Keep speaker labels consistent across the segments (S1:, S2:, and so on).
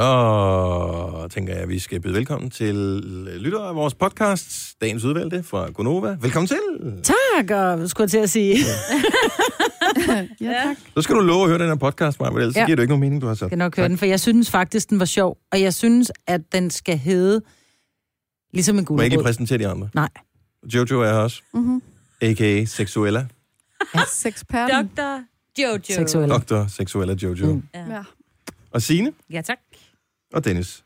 S1: så tænker jeg, at vi skal byde velkommen til lyttere af vores podcast, dagens udvalgte fra Gonova. Velkommen til!
S2: Tak, og skulle jeg til at sige.
S3: Ja, tak.
S1: Så skal du love at høre den her podcast, Maja, ellers ja.
S2: Ja.
S1: giver det jo ikke nogen mening, du har sat.
S2: skal nok høre den, for jeg synes faktisk, den var sjov. Og jeg synes, at den skal hedde ligesom en
S1: Må jeg ikke lige
S2: gulerod.
S1: præsentere de andre?
S2: Nej.
S1: Jojo er her også,
S3: Mm-hmm.
S1: a.k.a. Sexuella.
S3: Sexperten.
S4: Dr. Jojo.
S2: Seksuel.
S1: Doktor Sexuella Jojo.
S2: Mm.
S1: Mm.
S3: Ja.
S1: Og Sine
S4: Ja, tak.
S1: og Dennis.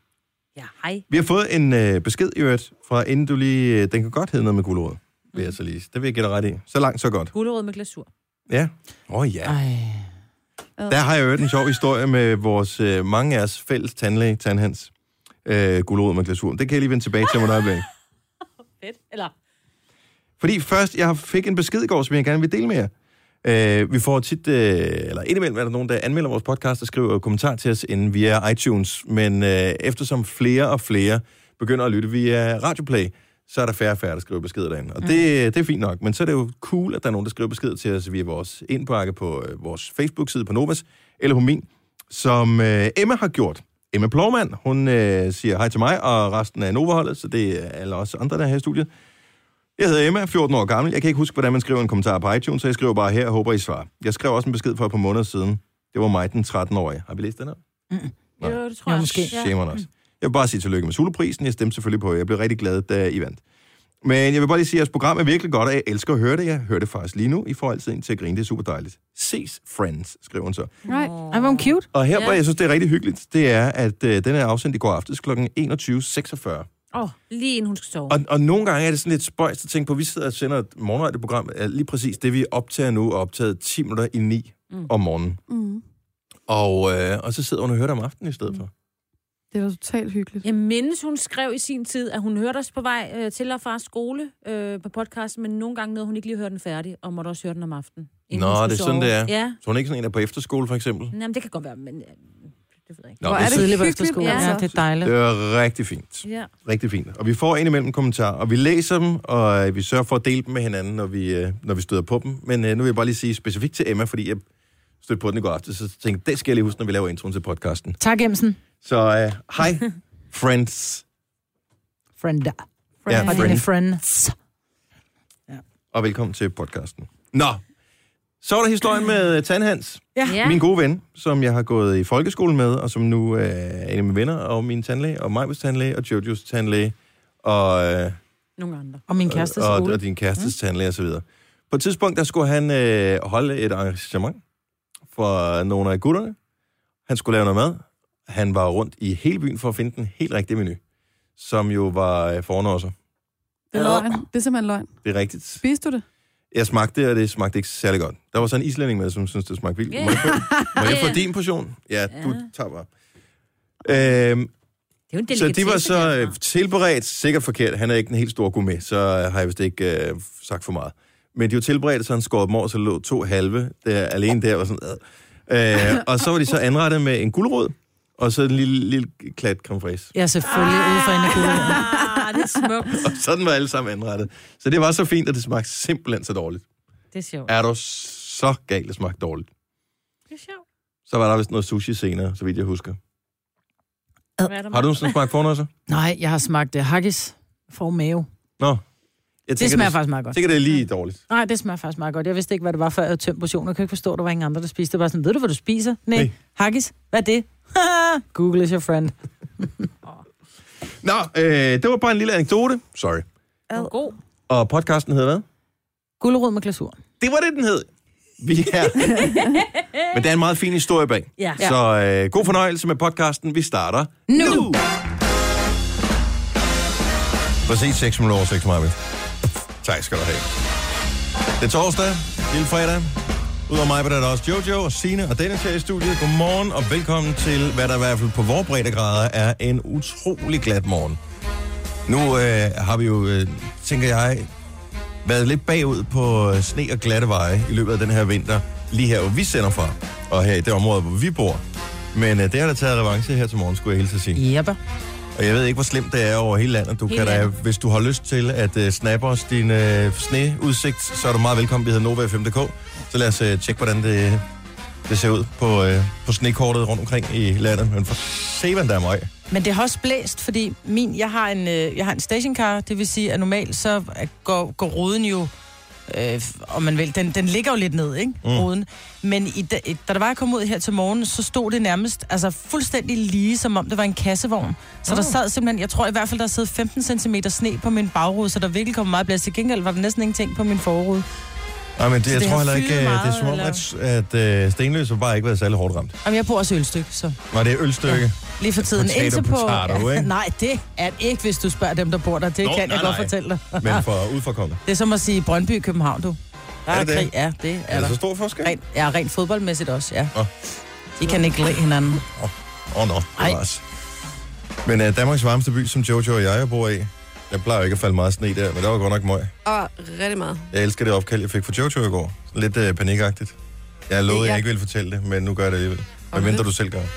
S4: Ja, hej.
S1: Vi har fået en øh, besked i øvrigt fra inden du lige... Øh, den kan godt hedde noget med gulerod, vil jeg så lige. Det vil jeg give dig ret i. Så langt, så godt.
S4: Gulerod med glasur.
S1: Ja. Åh oh, ja.
S2: Ej.
S1: Der har jeg hørt en sjov historie med vores, øh, mange af jeres fælles tandlæge, tandhans. Øh, gulerod med glasur. Det kan jeg lige vende tilbage til om et øjeblik.
S4: Fedt. Eller?
S1: Fordi først, jeg fik en besked i går, som jeg gerne vil dele med jer. Øh, vi får tit, øh, eller indimellem er der nogen, der anmelder vores podcast og skriver kommentar til os inden via iTunes. Men øh, eftersom flere og flere begynder at lytte via Radioplay, så er der færre og færre, der skriver beskeder derinde. Og det, øh, det er fint nok, men så er det jo cool, at der er nogen, der skriver beskeder til os via vores indbakke på øh, vores Facebook-side på Novas, eller på min, som øh, Emma har gjort. Emma Plovmand, hun øh, siger hej til mig og resten af Nova-holdet, så det er alle os andre, der er her i studiet. Jeg hedder Emma, 14 år gammel. Jeg kan ikke huske, hvordan man skriver en kommentar på iTunes, så jeg skriver bare her og håber, I svarer. Jeg skrev også en besked for et par måneder siden. Det var mig, den 13-årige. Har vi læst den her? Nej.
S4: Jo, det tror jeg.
S2: Jo, måske.
S4: Ja.
S1: Shamer også. Jeg vil bare sige tillykke med Soloprisen. Jeg stemte selvfølgelig på, jer. jeg blev rigtig glad, da I vandt. Men jeg vil bare lige sige, at jeres program er virkelig godt, og jeg elsker at høre det. Jeg hører det faktisk lige nu. I får altid en til at grine. Det er super dejligt. Ses, friends, skriver hun så.
S3: Nej.
S2: Ej, hvor er hun cute.
S1: Og her,
S4: Ja.
S1: hvor jeg synes, det er rigtig hyggeligt, det er, at øh, den er afsendt i går aftes kl. 21.46.
S4: Åh, oh, lige inden hun skal sove.
S1: Og, og nogle gange er det sådan lidt spøjst at tænke på, at vi sidder og sender et morgenradioprogram, er lige præcis det, vi optager nu, er optaget 10 minutter i 9 mm. om morgenen.
S5: Mm-hmm.
S3: Mm.
S1: Og, øh, og så sidder hun og hører det om aftenen i stedet for.
S3: Det var totalt hyggeligt.
S4: Jeg mindes, hun skrev i sin tid, at hun hørte os på vej øh, til og fra skole øh, på podcasten, men nogle gange nåede hun ikke lige at høre den færdig, og måtte også høre den om aftenen. inden
S1: Nå,
S4: hun skulle
S1: det er sådan, det er.
S4: Ja,
S1: Så hun er ikke sådan en, der er på efterskole, for eksempel.
S4: Jamen, det kan godt være, men øh, det ved jeg ikke.
S1: Nå,
S3: Hvor
S1: det,
S3: er det
S1: synes-
S2: Tidlig på
S3: hyggeligt,
S2: efterskole.
S4: ja.
S2: Ja, det er dejligt.
S1: det er rigtig fint.
S4: Ja.
S1: Rigtig fint. Og vi får indimellem kommentarer, og vi læser dem, og øh, vi sørger for at dele dem med hinanden, når vi, øh, når vi støder på dem. Men øh, nu vil jeg bare lige sige specifikt til Emma, fordi jeg stødte på den i går aftes, så tænkte jeg, det skal jeg lige huske, når vi laver introen til podcasten.
S2: Tak, Emsen.
S1: Så øh, hej, friends.
S2: Friend.
S1: Ja,
S2: Og
S1: friend.
S2: dine friends.
S1: og velkommen til podcasten. Nå, så var der historien med øh, Tandhans,
S2: Ja.
S1: ja. min gode ven, som jeg har gået i folkeskole med, og som nu øh, er en af mine venner, og min tandlæge, og Majbets tandlæge, og Jojos tandlæge, og, øh,
S4: Nogle andre.
S2: Og min kæreste
S1: og,
S2: skole.
S1: og din kærestes mm. tandlæge osv. På et tidspunkt, der skulle han øh, holde et arrangement for nogle af gutterne. Han skulle lave noget mad. Han var rundt i hele byen for at finde den helt rigtige menu, som jo var øh, fornåser.
S3: Det er løgn. Det er simpelthen løgn.
S1: Det er rigtigt.
S3: Spiste du det?
S1: Jeg smagte det, og det smagte ikke særlig godt. Der var så en islænding med, som syntes, det smagte vildt.
S4: Ja.
S1: Yeah. Må jeg få, må jeg
S4: Ja.
S1: få din portion? Ja, yeah. du
S4: Ja.
S1: tager bare. Øhm,
S4: Det er jo en
S1: så
S4: delikatesse.
S1: det var så øh,
S4: altså.
S1: tilberedt, sikkert forkert. Han er ikke den helt store gourmet, så øh, har jeg vist ikke øh, sagt for meget. Men de var tilberedt, så han skårede dem over, så der lå to halve. Der, alene der var sådan... Øh. Øh, og så var de så anrettet med en guldrød, og så en lille, lille klat creme fraise.
S2: Ja, selvfølgelig ude for en af gulerod.
S4: Ah, det er smukt.
S1: Og sådan var alle sammen anrettet. Så det var så fint, at det smagte simpelthen så dårligt.
S4: Det er sjovt.
S1: Er du så galt, det smagte dårligt?
S4: Det er sjovt.
S1: Så var der vist noget sushi senere, så vidt jeg husker.
S4: Hvad er der
S1: Har du
S4: med?
S1: nogensinde smagt fornøjelser?
S2: Nej, jeg har smagt uh, haggis for mave.
S1: Nå. Jeg
S2: Det smager
S1: det,
S2: faktisk meget godt.
S1: tænker, det er lige dårligt.
S2: Nej, det smager faktisk meget godt. Jeg vidste ikke, hvad det var, før jeg havde tømt portionen. Jeg kan ikke forstå, at der var ingen andre, der spiste. Det var sådan, ved du, hvad du spiser? Nej.
S1: Nej.
S2: Nej. Haggis? Hvad er det? Google is your friend.
S1: Nå, øh, det var bare en lille anekdote. Sorry.
S4: Den er god.
S1: Og podcasten hed hvad?
S2: Gulerod med glasur.
S1: Det var det, den hed. Vi er. Men der er en meget fin historie bag.
S4: Ja.
S1: Så øh, god fornøjelse med podcasten. Vi starter
S2: Nu!
S1: nu. Præcis 6 minutter over 6, Marvind. Tak skal du have. Det er torsdag, lille fredag. Udover mig, der er der også Jojo og Sine og Dennis her i studiet. Godmorgen og velkommen til, hvad der i hvert fald på vores breddegrader er en utrolig glat morgen. Nu øh, har vi jo, øh, tænker jeg, været lidt bagud på øh, sne og glatte veje i løbet af den her vinter. Lige her, hvor vi sender fra, og her i det område, hvor vi bor. Men øh, det har da taget revanche her til morgen, skulle jeg hilse at sige.
S2: Jep.
S1: Og jeg ved ikke, hvor slemt det er over hele landet. Du
S4: Hele
S1: kan da,
S4: landet.
S1: hvis du har lyst til at uh, snappe os din øh, uh, sneudsigt, så er du meget velkommen. Vi hedder Nova 5.dk. Så lad os uh, tjekke, øh, hvordan det det ser ud på, øh, på snekortet rundt omkring i landet. Men for seven der er møg.
S2: Men det har også blæst, fordi min, jeg, har en, øh, jeg har en stationcar, det vil sige, at normalt så er- går, går ruden jo, øh, om man vil, den, den ligger jo lidt ned, ikke? Mm. Ruden. Men i, da, i- da der var jeg kom ud her til morgen, så stod det nærmest altså fuldstændig lige, som om det var en kassevogn. Så der sad simpelthen, jeg tror i hvert fald, der sad 15 cm sne på min bagrude, så der virkelig kom meget blæst. Til gengæld var der næsten ingenting på min forrude.
S1: Nej, men det,
S2: Så
S1: jeg
S2: det
S1: tror
S2: har
S1: heller ikke,
S2: fyldt
S1: øh, det er
S2: meget,
S1: som om, at, at øh, Stenløse bare ikke været særlig hårdt ramt.
S2: Jamen, jeg bor også i ølstykke, så
S1: Var det er ølstykke? Ja.
S2: lige for tiden.
S1: Potato, potato, ikke?
S2: nej, det er det ikke, hvis du spørger dem, der bor der. Det
S1: Nå,
S2: Nå, kan
S1: nej,
S2: jeg godt
S1: nej.
S2: fortælle dig.
S1: Men for udforkommet.
S2: Det er som at sige Brøndby i København, du. Der
S1: Er
S2: er,
S1: det det?
S2: krig, ja, det
S1: Er
S2: er
S1: der
S2: der.
S1: så stor forskel?
S2: Rent, ja, rent fodboldmæssigt også, ja.
S1: Nå.
S2: De kan ikke lide hinanden.
S1: Åh, oh, nå.
S2: Ej.
S1: No, men uh, Danmarks varmeste by, som Jojo og jeg bor i, der plejer jo ikke at falde meget sne der, men der var godt nok møg.
S5: Og rigtig meget.
S1: Jeg elsker det opkald, jeg fik fra Jojo i går. Lidt uh, panikagtigt. Jeg lovede, at jeg
S5: jeg-
S1: ikke ville fortælle det, men nu gør jeg det alligevel. Hvad
S5: Okay.
S1: mindre du selv gør. det.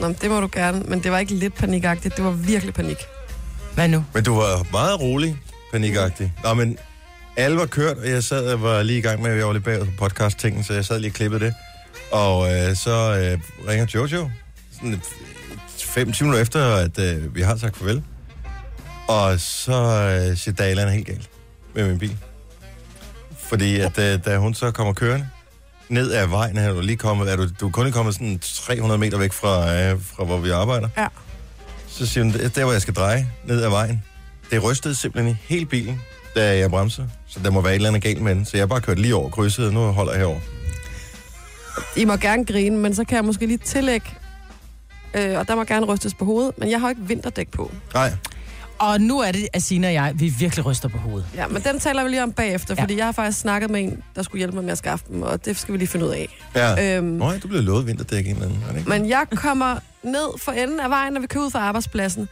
S5: Nå, men det må du gerne, men det var ikke lidt panikagtigt, det var virkelig panik.
S2: Hvad nu?
S1: Men du var meget rolig, panikagtig. Nå, men alle var kørt, og jeg sad og var lige i gang med, at jeg var lidt bagud på podcast-tingen, så jeg sad lige og klippede det. Og øh, så øh, ringer Jojo, sådan et- fem timer efter, at øh, vi har sagt farvel. Og så øh, siger Dalan helt galt med min bil. Fordi at øh, da hun så kommer kørende ned ad vejen, her, er du lige kommet, er du, du er kun lige kommet sådan 300 meter væk fra, øh, fra hvor vi arbejder.
S5: Ja.
S1: Så siger hun, "Det er der hvor jeg skal dreje, ned ad vejen. Det rystede simpelthen i hele bilen, da jeg bremser. Så der må være et eller andet galt med den. Så jeg har bare kørt lige over krydset, og nu holder jeg herover.
S5: I må gerne grine, men så kan jeg måske lige tillægge, øh, og der må gerne rystes på hovedet, men jeg har jo ikke vinterdæk på.
S1: Nej,
S2: Og nu er det, at Sina og jeg, vi virkelig ryster på hovedet.
S5: Ja, men den taler vi lige om bagefter,
S2: Ja.
S5: ja. fordi jeg har faktisk snakket med en, der skulle hjælpe mig med at skaffe dem, og det skal vi lige finde ud af.
S1: ja. Øh.
S5: Øhm,
S1: Nå, ja, du blev lovet vinterdæk en eller anden, var det ikke?
S5: men jeg kommer ned for enden af vejen, når vi kører ud fra arbejdspladsen,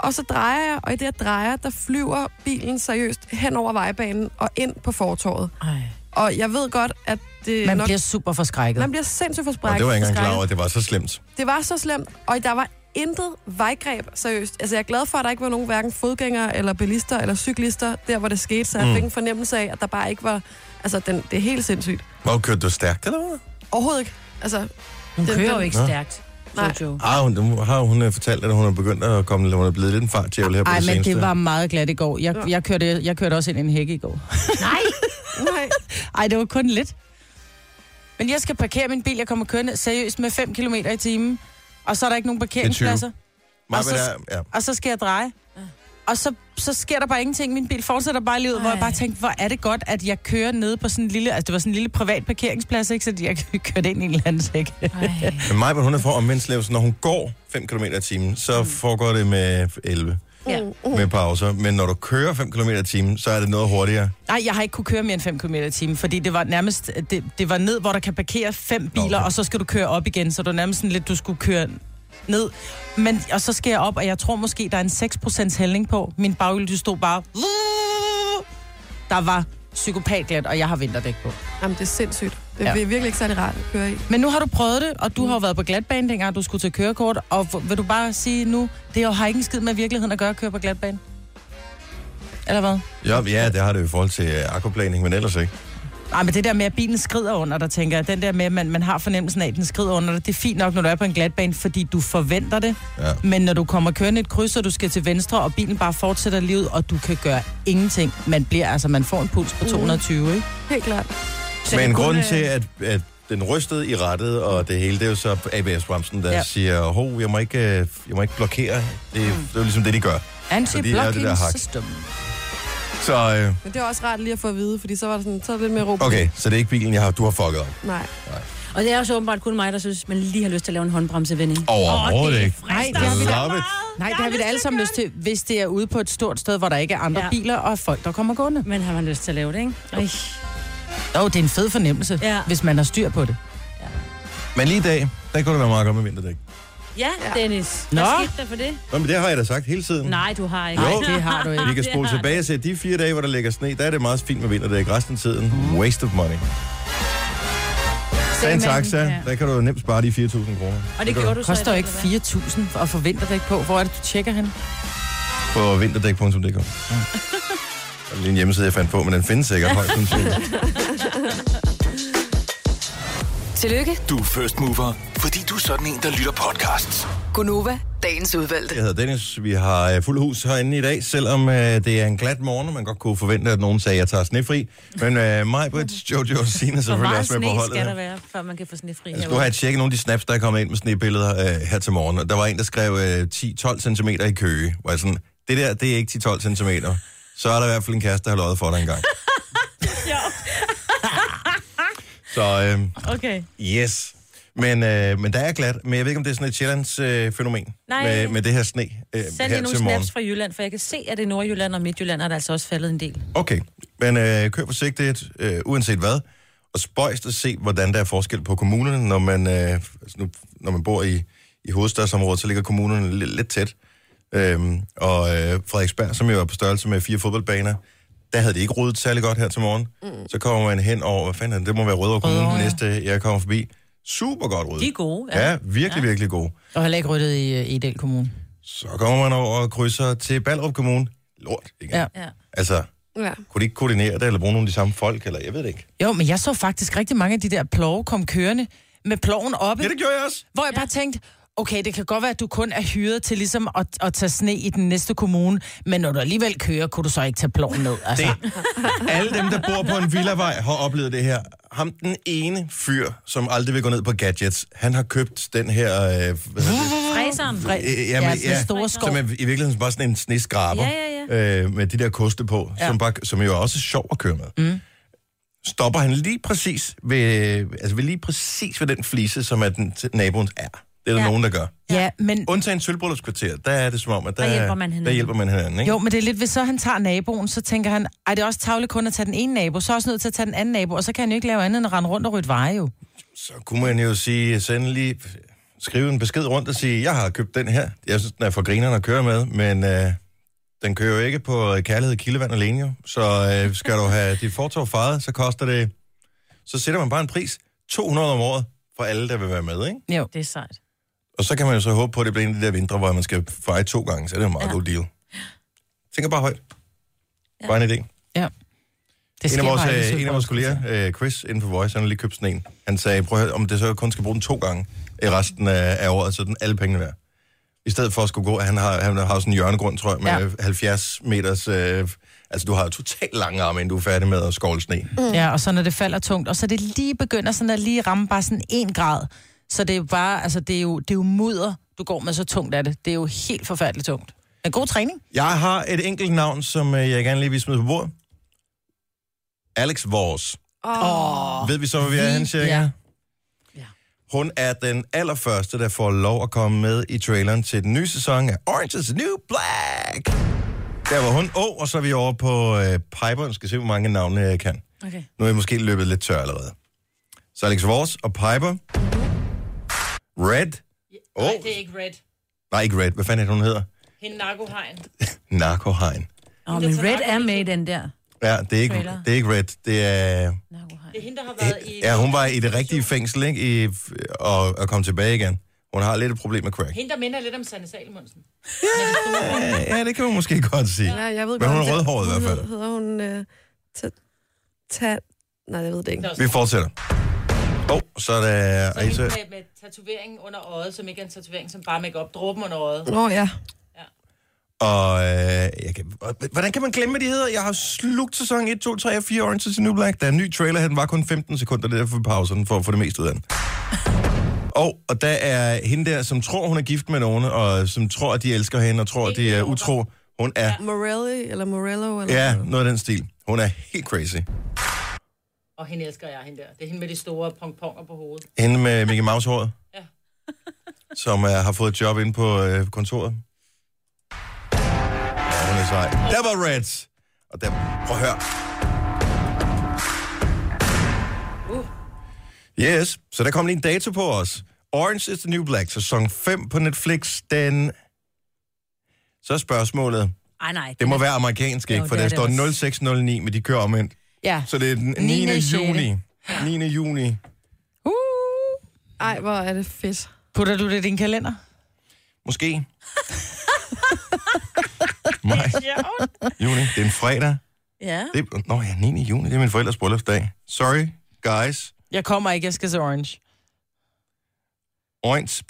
S5: og så drejer jeg, og i det jeg drejer, der flyver bilen seriøst hen over vejbanen og ind på fortorvet.
S2: Ej.
S5: Og jeg ved godt, at det
S2: Man
S5: nok...
S2: bliver super forskrækket.
S5: Man bliver sindssygt
S1: Og
S5: forskrækket.
S1: det var jeg ikke engang klar
S5: forskrækket.
S1: over, at det var så slemt.
S5: Det var så slemt, og der var intet vejgreb, seriøst. Altså, jeg er glad for, at der ikke var nogen hverken fodgængere eller bilister eller cyklister, der hvor det skete, så jeg
S1: Mm.
S5: fik en fornemmelse af, at der bare ikke var... Altså, den, det er helt sindssygt.
S1: Hvor kørte du stærkt, eller hvad?
S5: Overhovedet ikke. Altså,
S2: Hun
S5: den-
S2: kører jo
S5: den-
S2: ikke
S1: Nå.
S2: stærkt.
S5: Nej.
S2: Jojo.
S1: Ah, hun, nu har hun øh, fortalt, at hun er begyndt at komme, hun er blevet lidt en fartjævel her på
S2: Ej,
S1: det
S2: men
S1: seneste.
S2: det var meget glat i går. Jeg, jeg, kørte, jeg kørte også ind i en hæk i går.
S4: Nej!
S5: nej.
S2: Ej, det var kun lidt. Men jeg skal parkere min bil. Jeg kommer kørende seriøst med 5 km i timen. Og så er der ikke nogen parkeringspladser.
S1: Maja,
S2: og så-
S1: hvad der- ja.
S2: og så skal jeg dreje. Og så, så sker der bare ingenting. Min bil fortsætter bare lige ud, hvor jeg
S4: Ej.
S2: bare tænkte, hvor er det godt, at jeg kører nede på sådan en lille... Altså, det var sådan en lille privat parkeringsplads, ikke? Så jeg kørte ind i en eller anden sæk.
S1: Men Maja, hun er fra omvendt når hun går 5 km i timen, så
S2: Mm.
S1: foregår det med 11
S4: Ja.
S5: Mm,
S1: med pauser. Men når du kører 5 km i timen, så er det noget hurtigere.
S2: Nej, jeg har ikke kunne køre mere end 5 km i timen, fordi det var nærmest... Det, det var ned, hvor der kan parkere fem biler,
S1: okay.
S2: og så skal du køre op igen, så det var nærmest sådan lidt, du skulle køre ned. Men, og så skal jeg op, og jeg tror måske, der er en 6% hældning på. Min baghjul, de stod bare... Der var psykopatglat, og jeg har vinterdæk på.
S5: Jamen, det er sindssygt. Det
S2: Ja.
S5: er ja. virkelig ikke særlig rart at køre i.
S2: Men nu har du prøvet det, og du har jo været på glatbane, dengang du skulle til kørekort. Og v- vil du bare sige nu, det jo har ikke en skid med virkeligheden at gøre at køre på glatbane? Eller hvad?
S1: Ja, ja, det har det jo i forhold til øh, akkuplaning, men ellers ikke.
S2: Nej, men det der med, at bilen skrider under dig, tænker jeg. Den der med, at man, man har fornemmelsen af, at den skrider under dig. Det er fint nok, når du er på en glatbane, fordi du forventer det.
S1: Ja.
S2: Men når du kommer kørende et kryds, og du skal til venstre, og bilen bare fortsætter livet, og du kan gøre ingenting. Man bliver, altså, man får en puls på 220, ikke?
S5: Helt klart.
S1: Så Mhm. Men grunden
S2: øh,
S1: til, at, at den rystede i rettet, og det hele, det er jo så ABS-bremsen, der ja.
S2: Ja.
S1: siger, hov, jeg må ikke, øh, jeg må ikke blokere. Det, mm. det er jo ligesom det, de gør. er det der
S2: Anti-blocking
S1: hak.
S2: system.
S1: Så øh,
S5: Men det er også rart lige at få at vide, fordi så var det sådan, så er det lidt mere ro. på.
S1: okay, så det er ikke bilen, jeg har, du har fucket op.
S5: Nej.
S4: Og det er også åbenbart kun mig, der synes, man lige har lyst til at lave en håndbremsevending.
S1: Overhovedet ikke.
S2: Nej, det
S4: Nej,
S2: har vi da.
S1: Love it.
S2: Nej, det har vi da alle sammen lyst til, hvis det er ude på et stort sted, hvor der ikke er andre ja.
S4: Ja.
S2: biler og folk, der kommer gående.
S4: Men har man lyst til at lave det, ikke? Ej.
S2: Jo, det er en fed fornemmelse,
S4: Ja.
S2: hvis man har styr på det.
S1: Men lige i dag, der kunne det være meget godt med vinterdæk.
S4: Ja, Mm. Dennis.
S2: Nå.
S4: Hvad skete der for det?
S1: Nå, men det har jeg da sagt hele tiden.
S4: Nej, du har ikke.
S1: Jo.
S4: Nej,
S2: Det har du ikke.
S1: Vi kan spole tilbage og se, at de fire dage, hvor der ligger sne, der er det meget fint med vinterdæk. Resten af tiden, waste of money. Tag en taxa, der kan du nemt spare de 4.000 kroner.
S4: Og det gjorde du så.
S2: Koster
S4: i
S2: jo
S4: dag,
S2: ikke
S4: eller hvad?
S2: 4.000 at få vinterdæk på. Hvor er det, du tjekker hen?
S1: På vinterdæk.dk. Ja. Det er en hjemmeside, jeg fandt på, men den findes sikkert højst sandsynligt.
S6: Tillykke,
S7: Du er first mover, fordi du er sådan en, der lytter podcasts.
S6: Gunova, dagens udvalgte.
S1: Jeg hedder Dennis. Vi har øh, fuld hus herinde i dag, selvom øh, det er en glat morgen, og man godt kunne forvente, at nogen sagde, at jeg tager snefri. Men øh, mig, Britt, Jojo og Sina er
S4: Hvor
S1: selvfølgelig
S4: meget
S1: også med på
S4: sne
S1: holdet.
S4: skal der
S1: her.
S4: være, før man kan få snefri
S1: Jeg skulle have tjekket nogle af de snaps, der er kommet ind med snebilleder øh, her til morgen. Og der var en, der skrev øh, 10-12 cm i køge. Hvor jeg sådan, det der, det er ikke 10-12 cm. Så er der i hvert fald en kæreste, der har løjet for dig engang. Så øh,
S4: Okay.
S1: Yes. Men, øh, men der er glat. Men jeg ved ikke, om det er sådan et Sjællands-fænomen øh, fænomen
S4: Nej.
S1: med, med det her sne øh,
S4: Send lige
S1: her
S4: nogle
S1: til morgen.
S4: snaps fra Jylland, for jeg kan se, at i Nordjylland og Midtjylland er der altså også faldet en del.
S1: Okay, men øh, kør forsigtigt, øh, uanset hvad. Og spøjst at se, hvordan der er forskel på kommunerne, når man, øh, altså nu, når man bor i, i hovedstadsområdet, så ligger kommunerne lidt, lidt tæt. Øhm, og øh, Frederiksberg, som jo er på størrelse med fire fodboldbaner, der havde det ikke ryddet særlig godt her til morgen. Mm. Så kommer man hen over, hvad fanden er det, det må være Rødovre Kommune,
S2: Rødovre,
S1: ja.
S2: ja.
S1: næste jeg kommer forbi. Super godt ryddet.
S4: De er gode,
S1: Ja,
S4: ja.
S1: ja virkelig, ja. virkelig gode.
S2: Og heller ikke ryddet i øh, Edel Kommune.
S1: Så kommer man over og krydser til Ballerup Kommune. Lort, ikke?
S2: Ja.
S4: Ja.
S1: Altså,
S5: Ja.
S1: kunne de ikke koordinere det, eller bruge nogle af de samme folk, eller jeg ved det ikke.
S2: Jo, men jeg så faktisk rigtig mange af de der plove kom kørende med ploven oppe,
S1: Ja, det gjorde jeg også.
S2: hvor jeg bare tænkte, okay, det kan godt være, at du kun er hyret til ligesom at, at tage sne i den næste kommune, men når du alligevel kører, kunne du så ikke tage ploven ned. Altså.
S1: Det. Alle dem, der bor på en villavej, har oplevet det her. Ham, den ene fyr, som aldrig vil gå ned på gadgets, han har købt den her... Øh, hvad hedder det?
S4: Fræseren.
S1: Øh,
S2: Ja, altså, den store skov.
S1: Som er i virkeligheden bare sådan en sneskraber.
S4: Ja, ja,
S1: Øh, med de der koste på, ja.
S2: Ja.
S1: som, bare, som jo også er sjov at køre med. Mm. Stopper han lige præcis ved, altså ved lige præcis ved den flise, som er den til naboens er. Det er der ja.
S4: Ja.
S1: nogen, der gør.
S2: Ja, men
S1: Undtagen sølvbryllupskvarter, der er det som om, at der,
S4: Der hjælper man
S1: Der
S4: hinanden.
S1: hjælper man hinanden ikke?
S2: jo, men det er lidt, hvis så han tager naboen, så tænker han, ej, det er også tavligt kun at tage den ene nabo, så er jeg også nødt til at tage den anden nabo, og så kan han jo ikke lave andet end at rende rundt og rydde veje jo.
S1: Så kunne man jo sige, send lige, skrive en besked rundt og sige, jeg har købt den her. Jeg synes, den er for grinerne at køre med, men øh, den kører jo ikke på øh, kærlighed i kildevand alene jo. Så øh, skal du have dit fortov faret, så koster det, så sætter man bare en pris, 200 om året, for alle, der vil være med, ikke?
S2: Jo.
S4: Det er sejt.
S1: Og så kan man jo så håbe på, at det bliver en af de der vintre, hvor man skal feje to gange, så er det jo en meget ja.
S4: Ja.
S1: god deal. Tænker bare højt. Ja. Bare en idé.
S2: Det
S1: En af,
S2: sker
S1: vores,
S2: bare ikke i
S1: øh, en af vores
S2: Sølvbrødrupskvarteret.
S1: kolleger, øh, Chris, inden for Voice, han har lige købt sådan en. Han sagde, prøv at høre, om det så kun skal bruge den to gange i resten af, af året, så er den alle pengene værd. I stedet for at skulle gå, han har, han har jo sådan en hjørnegrund, tror jeg, med ja. 70 meters... Øh, altså, du har jo totalt lange arme, inden du er færdig med at skovle sne.
S2: Mm. Ja, og så når det falder tungt, og så det lige begynder sådan at lige ramme bare sådan en grad. Så det er jo bare, altså det er jo, det er jo mudder, du går med så tungt af det. Det er jo helt forfærdeligt tungt. Men god træning.
S1: Jeg har et enkelt navn, som øh, jeg gerne lige vil smide på bordet. Alex Vores.
S5: Åh.
S1: Ved vi så, hvor vi er henne, cirka?
S2: Ja.
S1: Hun er den allerførste, der får lov at komme med i traileren til den nye sæson af Orange is the New Black. Der var hun. Åh, og så er vi over på øh, Piper. Nu skal se, hvor mange navne jeg kan.
S4: Okay.
S1: Nu er jeg måske løbet lidt tør allerede. Så Alex Vors og Piper. Red. Åh, oh,
S2: ikke red.
S1: nej, ikke Red. Hvad fanden er det, hun hedder?
S2: Hende narkohegn.
S1: Narco Hein.
S4: Åh, men Red er med i den der.
S1: Ja, det er ikke,
S4: Trailer.
S1: det er ikke Red. Det er...
S2: Det er hende, der har
S1: Ja, hun var i det rigtige fængsel, ikke? I, og, og kom tilbage igen. Hun har lidt et problem med crack.
S2: Hende, der minder lidt om Sanne Salmonsen.
S1: Ja, det kan man måske godt sige.
S5: Ja, jeg ved
S1: Men hun
S5: godt,
S1: er
S5: at-
S1: rødhåret i hvert fald.
S5: Hedder- Hedder hun... Øh, ta- ta- Nej, jeg ved det ikke.
S1: Vi fortsætter. Åh, oh, så er der Aisha.
S2: med tatoveringen under øjet, som ikke er en tatovering, som bare make op dråben under øjet.
S5: Nå ja.
S1: Og øh, jeg kan, hvordan kan man glemme, hvad de hedder? Jeg har slugt sæson 1, 2, 3 og 4 Orange is the New Black. Der er en ny trailer her, den var kun 15 sekunder, det er derfor vi pauser den, for at få det meste ud af den. Og, og der er hende der, som tror, hun er gift med nogen, og som tror, at de elsker hende, og tror, at de er utro. Hun er,
S5: Morelli, eller Morello, eller...
S1: ja, noget af den stil. Hun er helt crazy.
S2: Og hende elsker jeg, hende der. Det er hende med de store pongponger på hovedet.
S1: Hende med Mickey Mouse-håret.
S2: Ja.
S1: som uh, har fået et job inde på uh, kontoret. Ja, hun er sej. Der var Reds. Og der, prøv at høre. Yes, så der kom lige en dato på os. Orange is the New Black, sæson 5 på Netflix, den... Så er spørgsmålet,
S4: Ej, nej.
S1: det må være amerikansk, ikke?
S2: Jo,
S1: For
S2: det
S1: der
S2: er det
S1: står
S2: også.
S1: 0609, men de kører omvendt.
S2: Ja.
S1: Så det er den 9.
S2: 9.
S1: juni. 9. juni.
S2: Uh,
S5: Ej, hvor er det fedt.
S2: putter du det i din kalender?
S1: Måske. Maj. Juni. Det er en fredag.
S4: Ja.
S1: Det er, nå ja, 9. juni. Det er min forældres bryllupsdag. Sorry, guys.
S2: Jeg kommer ikke, jeg skal se Orange.
S1: Oints.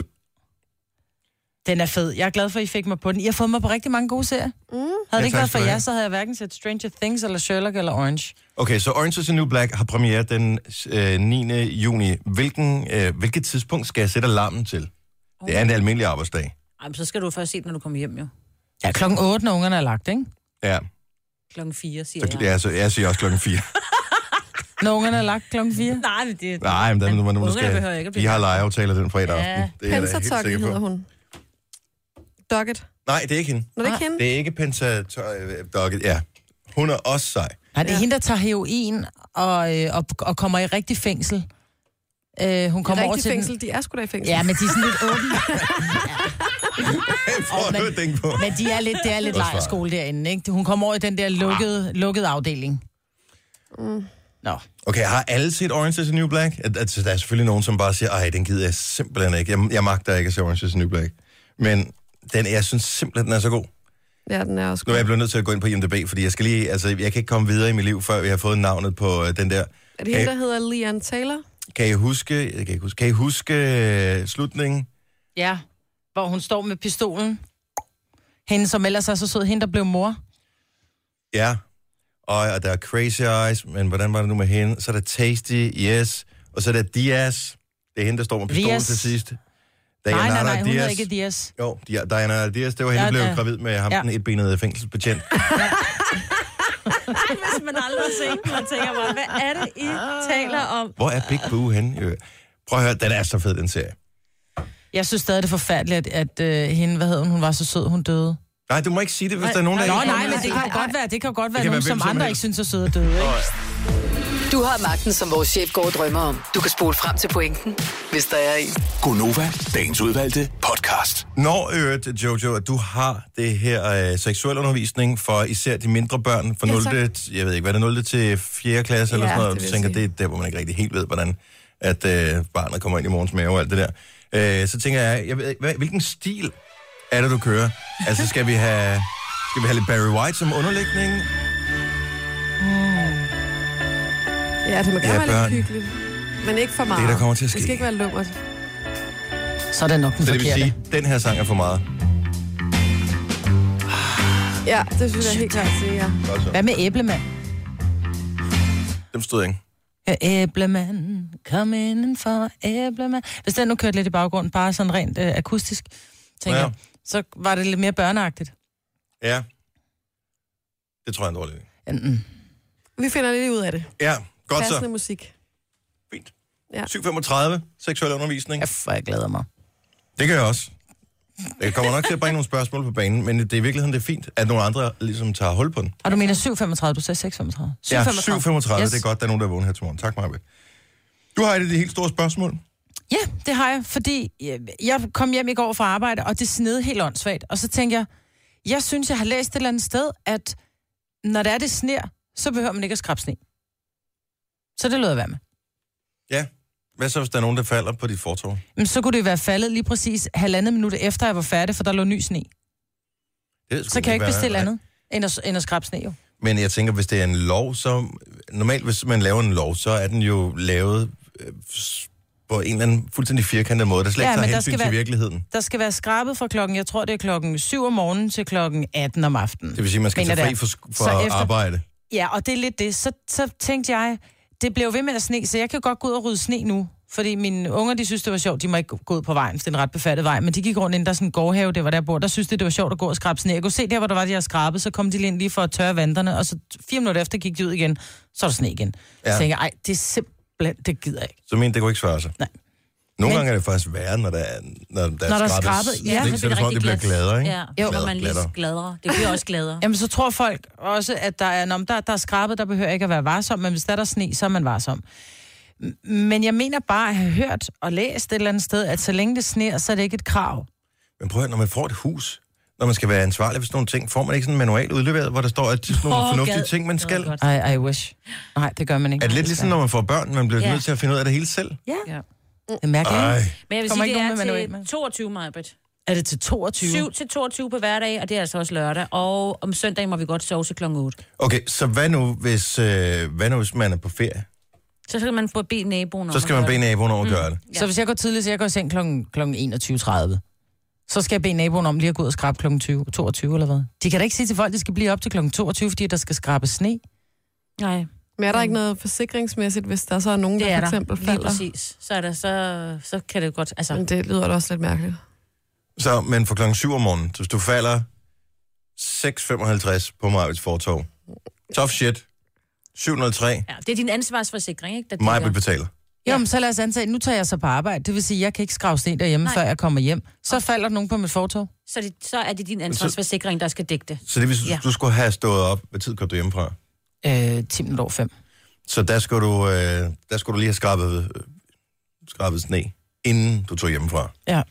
S2: Den er fed. Jeg er glad for, at I fik mig på den. I har fået mig på rigtig mange gode serier. Mm. Havde det ikke
S1: tak
S2: været
S1: skal
S2: for
S1: du
S2: jer,
S1: have.
S2: så havde jeg hverken set Stranger Things, eller Sherlock, eller Orange.
S1: Okay, så Orange is the New Black har premiere den øh, 9. juni. Hvilken, øh, hvilket tidspunkt skal jeg sætte alarmen til? Det er en almindelig arbejdsdag.
S4: Ej, men så skal du først se den, når du kommer hjem jo.
S2: Ja, klokken 8, når ungerne er lagt, ikke?
S1: Ja,
S4: Klokken 4, siger
S1: så,
S4: jeg.
S1: ja, så jeg siger også klokken 4.
S2: Når ungerne er lagt klokken 4.
S4: Nej, men det er...
S1: Nej, men der er nogen, der
S4: ungerne
S1: skal...
S4: behøver ikke at blive
S1: de har legeaftaler den fredag
S4: Ja.
S1: aften. Det er jeg da helt
S5: Pensatokke
S1: sikker på.
S5: hedder hun. Dogget.
S1: Nej, det er ikke hende.
S5: Når Ah, det ikke
S4: Mm.
S5: hende?
S1: Det er ikke Pentatokket. Ja, hun er også sej.
S2: Nej, det er hende, der tager heroin og, øh, og, og kommer i rigtig fængsel. Øh, hun kommer over
S5: Rigtig
S2: til
S5: fængsel,
S2: Den.
S5: de er sgu da i fængsel.
S2: Ja, men de er sådan lidt åbne.
S1: Prøv
S2: men-
S1: at tænke på.
S2: Men de er lidt, det er lidt
S1: Også svaret.
S2: lejerskole derinde, ikke? Hun kommer over i den der lukkede, lukkede afdeling. Nå.
S1: Okay, har alle set Orange is the New Black? At- at- Der er selvfølgelig nogen, som bare siger, ej, den gider jeg simpelthen ikke. Jeg, jeg magter ikke at se Orange is the New Black. Men den, jeg synes simpelthen, den er så god.
S5: ja den er også
S1: Nu er
S5: god.
S1: jeg blevet nødt til at gå ind på IMDb, fordi jeg, skal lige, altså, jeg kan ikke komme videre i mit liv, før jeg har fået navnet på øh, den der.
S5: Er det hende, der hedder Leon Taylor?
S1: Kan I huske, jeg kan, ikke huske, kan I huske øh, slutningen?
S2: Ja, hvor hun står med pistolen. Hende, som ellers er så sød, hende, der blev mor.
S1: Ja. Og, og der er Crazy Eyes, men hvordan var det nu med hende? Så er der Tasty, yes. Og så er der Diaz. Det er hende, der står med pistolen
S2: Diaz.
S1: til sidst.
S2: Nej, nej,
S1: Diana
S2: nej, hun hedder
S1: Diaz.
S2: ikke Dias.
S1: Jo, Di- Diana Diaz, det var hende, der
S2: Ja,
S1: blev
S2: ja.
S1: gravid med ham,
S2: Ja.
S1: den etbenede fængselsbetjent.
S4: Hvis man aldrig har set den, og tænker bare, hvad er det, I taler om?
S1: Hvor er Big Boo henne? Øh, Prøv at høre, den er så fed, den serie.
S2: Jeg synes stadig, det er forfærdeligt, at, at øh, hende, hvad hedder hun, hun var så sød, hun døde.
S1: Nej, du må ikke sige det, hvis der er nogen, der...
S2: Nå,
S1: ikke-
S2: nej, men det kan jo godt være, det kan jo godt være
S1: kan
S2: nogen,
S1: være
S2: som
S1: hvem som
S2: andre
S1: helst.
S2: ikke synes er søde og døde, ikke?
S6: Du har magten, som vores chef går og drømmer om. Du kan spole frem til pointen, hvis der er en.
S7: Gonova, dagens udvalgte podcast.
S1: Når øvrigt, Jojo, at du har det her øh, seksuel undervisning for især de mindre børn fra
S5: Ja,
S1: 0.
S5: tak.
S1: jeg ved ikke, hvad er det, 0. til 4. klasse eller
S5: Ja,
S1: sådan noget, og
S5: det
S1: du
S5: vil
S1: tænker,
S5: jeg
S1: det er der, hvor man ikke rigtig helt ved, hvordan at øh, barnet kommer ind i morgens mave og alt det der. Øh, så tænker jeg, jeg ved, ikke, hvad, hvilken stil er det, du kører? Altså, skal vi have, skal vi have lidt Barry White som underlægning?
S5: Ja, det må
S1: Ja,
S5: gerne være
S1: børn.
S5: lidt hyggeligt. Men ikke for meget.
S1: der kommer til at
S5: Det
S1: ske.
S5: skal ikke være lummert.
S2: Så er det nok den
S1: Så det vil
S2: forkerte.
S1: sige, den her sang er for meget.
S5: Ja, det synes jeg helt klart sige, ja.
S1: Godt så.
S2: Hvad med æblemand?
S1: Dem stod jeg ikke.
S2: Ja, Øh, æblemand, kom indenfor, æblemand. Hvis den nu kørte lidt i baggrunden, bare sådan rent øh, akustisk, tænker
S1: Ja.
S2: ja. jeg, så var det lidt mere børneagtigt.
S1: Ja. Det tror jeg er en dårlig idé.
S2: Enten.
S5: Vi finder lidt ud af det.
S1: Ja, godt så.
S5: Passende musik.
S1: Fint.
S5: Ja.
S1: 7.35, seksuel undervisning.
S2: Ja, for jeg glæder mig.
S1: Det gør jeg også. Jeg kommer nok til at bringe nogle spørgsmål på banen, men det er i virkeligheden det er fint, at nogle andre ligesom tager hul på den.
S2: Og du mener 7.35, du sagde 6.35.
S1: Ja, 7.35, yes.
S2: Yes.
S1: det er godt, der er nogen, der er vågen her til morgen. Tak, Marve. Du har et af de helt store spørgsmål.
S2: Ja, det har jeg, fordi øh, jeg kom hjem i går fra arbejde, og det snede helt åndssvagt. Og så tænkte jeg, jeg synes, jeg har læst et eller andet sted, at når der er det sner, så behøver man ikke at skrabe sne. Så det lød jeg være med.
S1: Ja. Hvad så, hvis der er nogen, der falder på dit fortov?
S2: Men så kunne det være faldet lige præcis halvandet minut efter, jeg var færdig, for der lå ny sne.
S1: Det ved sgu
S2: Så kan jeg ikke
S1: hvad-
S2: bestille
S1: Nej.
S2: andet end at, end at skrabe sne, jo.
S1: Men jeg tænker, hvis det er en lov, så... Normalt, hvis man laver en lov, så er den jo lavet øh, s- på en eller anden fuldstændig firkantet måde, der slet ikke
S2: Ja,
S1: ja, tager
S2: men der
S1: hensyn
S2: skal
S1: til
S2: være-
S1: virkeligheden.
S2: Der skal være skrabet fra klokken, jeg tror det er klokken 7 om morgenen til klokken 18 om aftenen.
S1: Det vil sige, at man skal
S2: Mener
S1: tage fri
S2: det.
S1: for, sk-
S2: Så
S1: for
S2: efter-
S1: arbejde.
S2: Ja, og det er lidt det. Så, så tænkte jeg, det blev ved med at sne, så jeg kan godt gå ud og rydde sne nu. Fordi mine unger, de synes, det var sjovt. De må ikke gå- gå ud på vejen, for det er en ret befattet vej. Men de gik rundt ind, der er sådan en gårdhave, det var der jeg bor. Der synes de, det var sjovt at gå og skrabe sne. Jeg kunne se der, hvor der var, de havde skrabet, så kom de lige ind lige for at tørre vanderne. Og så fire minutter efter gik de ud igen, så er der sne igen. Ja.
S1: Ja.
S2: Så tænkte jeg, ej, det er simpelthen, det gider jeg ikke.
S1: Så men det kunne ikke svare sig.
S2: Nej.
S1: Nogle
S2: Men-
S1: gange er det faktisk værre, når der er, når der
S2: Når der
S1: er
S2: er
S1: skrabet.
S2: skrabet, ja,
S1: så det, så er det, som om, det bliver gladere, ikke?
S4: Ja,
S1: Jo.
S4: jo, hvor man lige
S1: Glatter.
S4: gladere. Det bliver også gladere.
S2: Jamen, så tror folk også, at der er, når der, der er skrabet, der behøver ikke at være varsom, men hvis der er der sne, så er man varsom. M- Men jeg mener bare at have hørt og læst et eller andet sted, at så længe det sner, så er det ikke et krav.
S1: Men prøv at høre, når man får et hus, når man skal være ansvarlig for sådan nogle ting, får man ikke sådan en manual udleveret, hvor der står, at det er sådan nogle
S4: Åh,
S1: fornuftige
S4: gad.
S1: ting, man
S4: Det var
S1: skal.
S4: godt.
S2: I, I wish. Nej, det gør man ikke.
S1: Er det lidt ligesom, når man får børn, man bliver
S4: Ja.
S1: nødt til at finde ud af det hele selv?
S2: Ja. Det er mærkeligt.
S1: Ej,
S2: ikke?
S4: Men jeg vil
S2: Kommer
S4: sige,
S2: ikke
S4: det
S2: nogen med
S4: er
S2: manual med?
S4: til 22 maj, Britt.
S2: Er det til 22?
S4: 7 til 22 på hverdag, og det er altså også lørdag. Og om søndagen må vi godt sove til klokken 8.
S1: okay, så hvad nu, hvis, øh, hvad nu, hvis man er på ferie?
S4: Så Så skal man få bede naboen om
S1: Så skal
S4: at
S1: man
S4: gøre
S1: bede
S4: det.
S1: naboen over at gøre det.
S2: Ja. Så hvis jeg går tidligt, så jeg går i seng kl. kl. 21.30, så skal jeg bede naboen om lige at gå ud og skrabe kl. 20, 22 eller hvad. De kan da ikke sige til folk, at de skal blive op til kl. 22, fordi der skal skrabe sne.
S4: Nej,
S5: Men er der ikke noget forsikringsmæssigt, hvis der så er nogen,
S4: det
S5: der
S4: er
S5: for
S4: der.
S5: eksempel
S4: Lige
S5: falder?
S4: præcis. Så, er der, så, så kan det godt... Altså,
S5: Men det lyder da også lidt mærkeligt.
S1: Så, men for klokken 7 om morgenen, så hvis du falder 6.55 på Majbets fortov. Tough shit. 703.
S4: ja, det er din ansvarsforsikring, ikke? Der
S1: Majbet
S4: dækker.
S1: betaler.
S2: Jo, men så lad os antage, nu tager jeg så på arbejde. Det vil sige, at jeg kan ikke skrave sne derhjemme, Nej.
S4: Nej.
S2: før jeg kommer hjem. Så falder der nogen på mit fortog.
S4: så, det, så er det din ansvarsforsikring, der skal dække det.
S1: Så det vil sige,
S4: Ja.
S1: du skulle have stået op. Hvad tid kom du hjemmefra?
S2: Øh, 10 minutter over 5.
S1: Så der skulle du, øh, der skulle du lige have skrabet, øh, skrabet sne, inden du tog hjemmefra.
S2: Ja.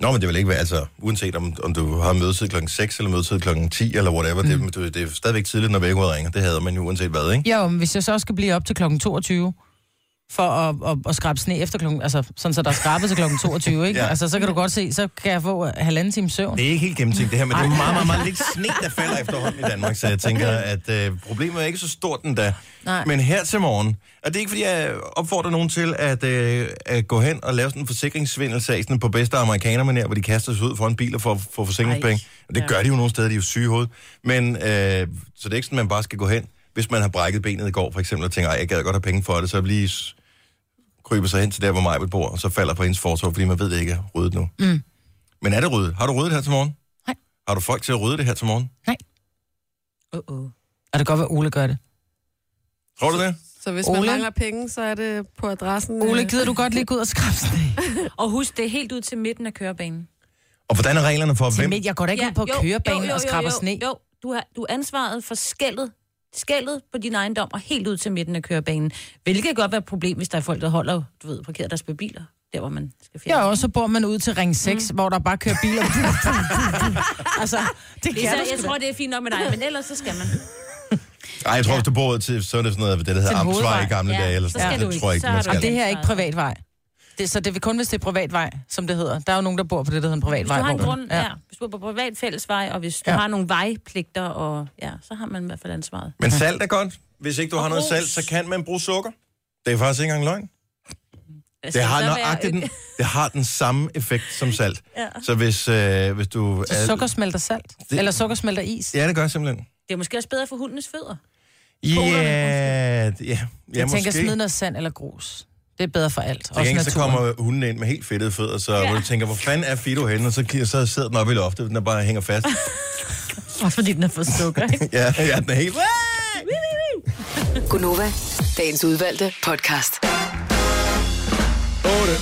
S1: Nå, men det vil ikke være, altså, uanset om, om du har mødetid klokken 6 eller mødetid klokken 10 eller whatever, mm. det, det, det, er stadigvæk tidligt, når vækkeuret ringer. Det havde man jo uanset hvad, ikke?
S2: Jo, men hvis jeg så skal blive op til kl. 22, for at, at, at skrabe sne efter klokken, altså sådan så der er skrabet til klokken 22, ikke?
S1: Ja.
S2: ja. Altså så kan du godt se, så kan jeg få øh, halvanden time søvn.
S1: Det er ikke helt gennemtænkt det her, men det er meget, meget, meget lidt sne, der falder efterhånden i Danmark, så jeg tænker, at øh, problemet er ikke så stort endda.
S2: Nej.
S1: Men her til morgen, og det er ikke, fordi jeg opfordrer nogen til at, øh, at gå hen og lave sådan en forsikringssvindelsag sådan på bedste amerikanermanér, hvor de kaster sig ud for en bil og får, får forsikringspenge. Og det
S4: ja.
S1: gør de jo nogle steder, de er jo syge i hovedet. Men, øh, så det er ikke sådan, at man bare skal gå hen, hvis man har brækket benet i går, for eksempel, og tænker, "Ej, jeg gad godt have penge for det, så lige s- kryber sig hen til der, hvor Majbet bor, og så falder på hendes fortov, fordi man ved det ikke er ryddet nu. Mm. Men er det ryddet? Har du ryddet her til morgen?
S2: Nej.
S1: Har du folk til at rydde det her til morgen?
S4: Uh-oh.
S2: Og det kan godt være, Ole gør det.
S1: Tror du det?
S5: Så hvis man
S2: Ole?
S5: mangler penge, så er det på adressen.
S2: Ole,
S4: Mm.
S5: øh,
S2: gider du godt lige gå ud og skrabe sne?
S4: Og husk, det er helt ud til midten af kørebanen.
S1: Og hvordan er reglerne for, hvem?
S2: Men jeg går da ikke ja, ud på
S4: jo,
S2: kørebanen
S4: jo, jo,
S2: og skraber
S4: jo,
S2: sne.
S4: Jo, du har, du er ansvaret for skældet, skældet på din ejendom og helt ud til midten af kørebanen. Hvilket kan godt være et problem, hvis der er folk, der holder, du ved, parkeret deres biler, der hvor man skal fjerne.
S2: Ja, og så bor man ud til Ring 6, mm. hvor der bare kører biler. altså, det kan
S4: Lisa,
S2: jeg
S4: jeg tror, det er fint nok med dig, men ellers så skal man.
S1: Ej, jeg tror, hvis du bor ud til, så er det sådan noget, det der hedder
S2: Til
S1: Amtsvej
S2: hovedvej.
S1: i gamle
S4: Ja,
S1: dage, eller
S4: så
S1: sådan
S4: skal
S1: noget.
S4: du
S1: Det
S4: ikke.
S1: tror jeg ikke,
S4: Så er
S1: man
S4: du
S1: skal.
S2: Og det her er ikke privatvej. Det, så det vil kun, hvis det er privatvej, som det hedder. Der er jo nogen, der bor på det, der hedder en
S4: Hvis
S2: privatvej.
S4: du har en
S2: hvor man-
S4: grund, ja. ja. Hvis du er på privat fællesvej, og hvis du
S2: Ja.
S4: ja. har nogle vejpligter, og, ja, så har man i hvert fald ansvaret.
S1: Men salt er godt. Hvis ikke du har
S4: Og
S1: noget
S4: brus.
S1: salt, så kan man bruge sukker. Det er faktisk ikke engang løgn.
S4: Altså,
S1: Det har,
S4: så være-
S1: nøjagtigt den, det har den samme effekt som salt.
S4: Ja.
S1: Så hvis, øh, hvis du...
S2: Så sukker smelter salt.
S1: Det-
S2: Det... Eller sukker smelter is. Ja,
S1: Ja, det gør simpelthen.
S4: Det er måske også bedre for hundenes fødder.
S1: Ja,
S4: Polerne,
S1: ja, ja,
S2: jeg
S1: måske.
S2: tænker, smid noget sand eller grus. Det er bedre for alt.
S1: Til
S2: Også
S1: gengæld så
S2: naturen.
S1: kommer hunden ind med helt fedtede fødder, så ja.
S4: Ja.
S1: du tænker, hvor fanden er Fido henne? Og så, kigger- så sidder den oppe i loftet, den er bare hænger fast.
S4: Også fordi den er for sukker, ikke?
S1: ja, ja, den er helt...
S6: Gunova, dagens udvalgte podcast.
S1: 8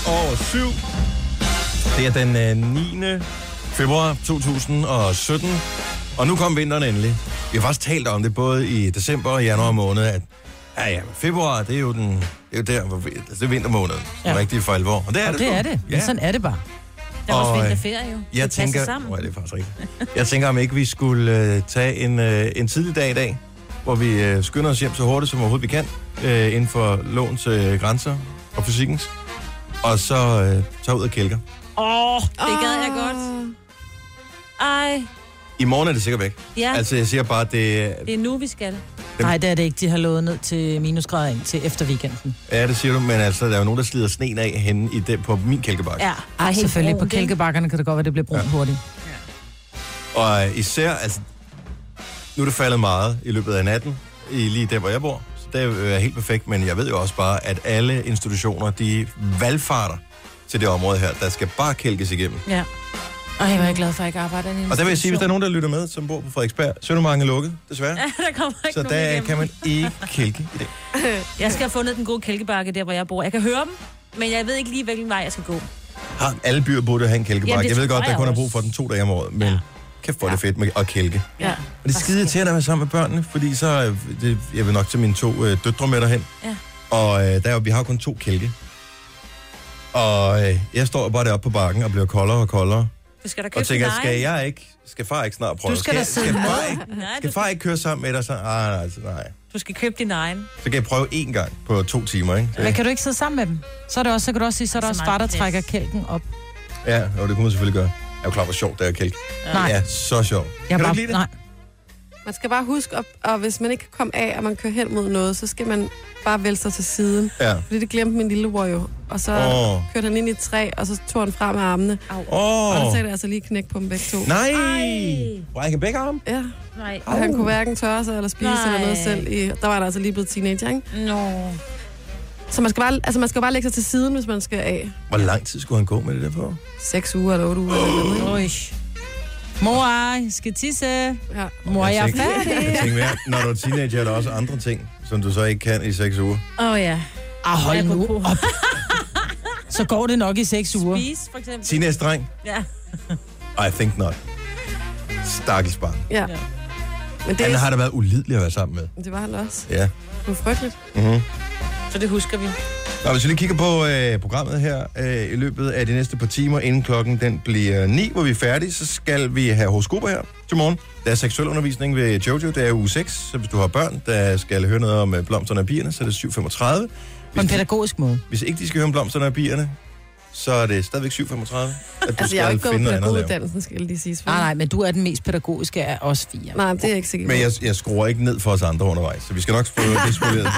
S1: over 7. Det er den øh, 9. februar 2017, og nu kom vinteren endelig. Vi har faktisk talt om det både i december og januar måned, at ja, ja, men februar, det er jo, den, det er jo der, hvor, vi- altså, det er vintermåneden, ja.
S2: Ja.
S1: rigtig for alvor. Og det er
S2: Og
S1: det,
S2: det
S1: sgu.
S2: er det. Ja.
S1: Ja.
S2: Men sådan er det bare.
S4: Der er også
S1: Og, øh,
S4: vinterferie, jo. Det
S1: Jeg
S4: passer
S1: tænker,
S4: sammen.
S1: oh, ja, det er faktisk rigtigt. Jeg tænker, om ikke vi skulle øh, tage en, øh, en tidlig dag i dag, hvor vi øh, skynder os hjem så hurtigt som overhovedet vi kan, øh, inden for lovens øh, grænser og fysikkens, og så øh, tager ud og kælker.
S4: Det gad jeg godt. Ej,
S1: I morgen er det sikkert væk.
S4: ja.
S1: Ja. Altså, jeg siger bare, det...
S4: Det er nu, vi skal.
S1: Dem-
S2: Nej, det er det ikke. De har lovet ned til minusgrader ind til efter weekenden.
S1: Ja, det siger du, men altså, der er jo nogen, der slider sneen af henne i den, på min kælkebakke. Ja.
S4: Ja, oh,
S2: Ej,
S4: helt
S2: selvfølgelig. På
S4: brunt, ikke?
S2: kælkebakkerne kan det godt være, det bliver brunt ja. hurtigt.
S1: Og øh, især, altså... Nu er det faldet meget i løbet af natten, i lige der, hvor jeg bor. Så det er øh, helt perfekt, men jeg ved jo også bare, at alle institutioner, de valgfarter til det område her, der skal bare kælkes igennem.
S4: Ja. Ej, hvor er jeg glad for, at jeg ikke arbejder i en
S1: Og der vil jeg sige, hvis der
S4: institution.
S1: er nogen, der lytter med, som bor på Frederiksberg, Søndermarken er lukket, desværre. Ja,
S4: der kommer ikke
S1: så
S4: nogen
S1: der
S4: igennem.
S1: kan man ikke kælke i dag.
S4: Jeg skal have fundet den gode kælkebakke der, hvor jeg bor. Jeg kan høre dem, men jeg ved ikke lige, hvilken vej jeg skal gå.
S1: Har alle byer burde have en kælkebakke.
S4: Jamen, det
S1: jeg ved
S4: tror
S1: godt, der
S4: jeg
S1: kun er
S4: også.
S1: brug for den to dage om året, men ja. kæft hvor er det fedt med at kælke.
S4: Ja.
S1: Og det er skide til at være sammen med børnene, fordi så, øh, det, jeg vil nok tage mine to øh, døtre med derhen.
S4: Ja.
S1: Og øh, der, er jo- vi har jo kun to kælke. Og øh, jeg står bare deroppe på bakken og bliver koldere og koldere.
S4: Du skal da købe
S1: Og tænker,
S4: din
S1: skal
S4: egen.
S1: jeg ikke, skal far ikke snart prøve?
S2: Du skal da sidde
S1: skal,
S2: med.
S1: far ikke,
S4: Nej, du
S1: skal far ikke køre sammen med dig? Så, ah, nej, så, nej.
S4: Du skal købe din egen.
S1: Så kan jeg prøve én gang på to timer, ikke?
S2: Men
S1: Det,
S2: kan du ikke sidde sammen med dem? Så, er det også, så kan du også sige, så er der
S4: Så
S2: også
S4: meget
S2: far, der
S4: plads.
S2: trækker kælken op.
S1: ja, jo, det kunne man selvfølgelig gøre. Jeg er jo klar, hvor sjovt det er at kælke.
S2: Nej,
S1: Ja, så sjovt.
S2: jeg
S1: kan
S2: bare,
S1: du ikke lide det?
S2: nej.
S5: Man skal bare huske, at, og hvis man ikke kan komme af, og man kører hen mod noget, så skal man bare vælge sig til siden.
S1: Ja.
S5: Fordi det glemte min lillebror jo. Og så
S1: Åh.
S5: oh. kørte han ind i et træ, og så tog han frem af armene. Oh. Og der
S1: Åh,
S5: sagde det altså lige knæk på dem begge to.
S1: nej!
S4: Ej.
S1: Brække begge arm?
S5: Ja,
S4: Nej.
S5: og han kunne hverken tørre sig eller spise Nej. eller noget
S4: Nej.
S5: selv. I, der var der altså lige blevet teenager, ikke?
S4: Nå.
S5: Så man skal, bare, altså man skal bare lægge sig til siden, hvis man skal af.
S1: Hvor lang tid skulle han gå med det der på?
S5: 6 uger eller 8 uger eller noget, ikke?
S2: Øj. Mor, jeg skal tisse.
S5: Ja.
S2: Mor, jeg er
S1: tænkte-
S2: færdig.
S1: Jeg tænkte Altså, mere, når du er teenager, er der også andre ting, som du så ikke kan i seks uger.
S4: Åh oh, ja.
S2: Ah, hold nu
S4: Apropos.
S2: op. Så går det nok i seks uger.
S4: Spise, for eksempel.
S1: Teenage-dreng?
S4: Ja.
S1: I think not. Stakkels barn.
S5: ja. Men det,
S1: Han har da været ulidelig at være sammen med.
S5: det var han også.
S1: Ja.
S5: Det var frygteligt.
S4: Så det husker vi.
S1: Nå, hvis vi lige kigger på øh, programmet her øh, i løbet af de næste par timer, inden klokken den bliver 9, hvor vi er færdige, så skal vi have horoskoper her til morgen. Der er seksuel undervisning ved Jojo, det er uge 6, så hvis du har børn, der skal høre noget om øh, blomsterne og bierne, så er det 7.35.
S2: På en pædagogisk måde.
S1: Hvis ikke de skal høre om blomsterne og bierne, så er det stadigvæk 7.35, at du
S5: Altså,
S1: skal
S5: jeg har jo ikke gået
S1: finde
S5: på
S1: noget andet at lave.
S5: pædagoguddannelsen, skal jeg lige sige.
S2: Nej, nej, men du er den mest pædagogiske af os fire.
S5: Nej, det er jeg ikke sikker på.
S1: Men jeg, jeg skruer ikke ned for os andre undervejs, så vi skal nok få det spoleret.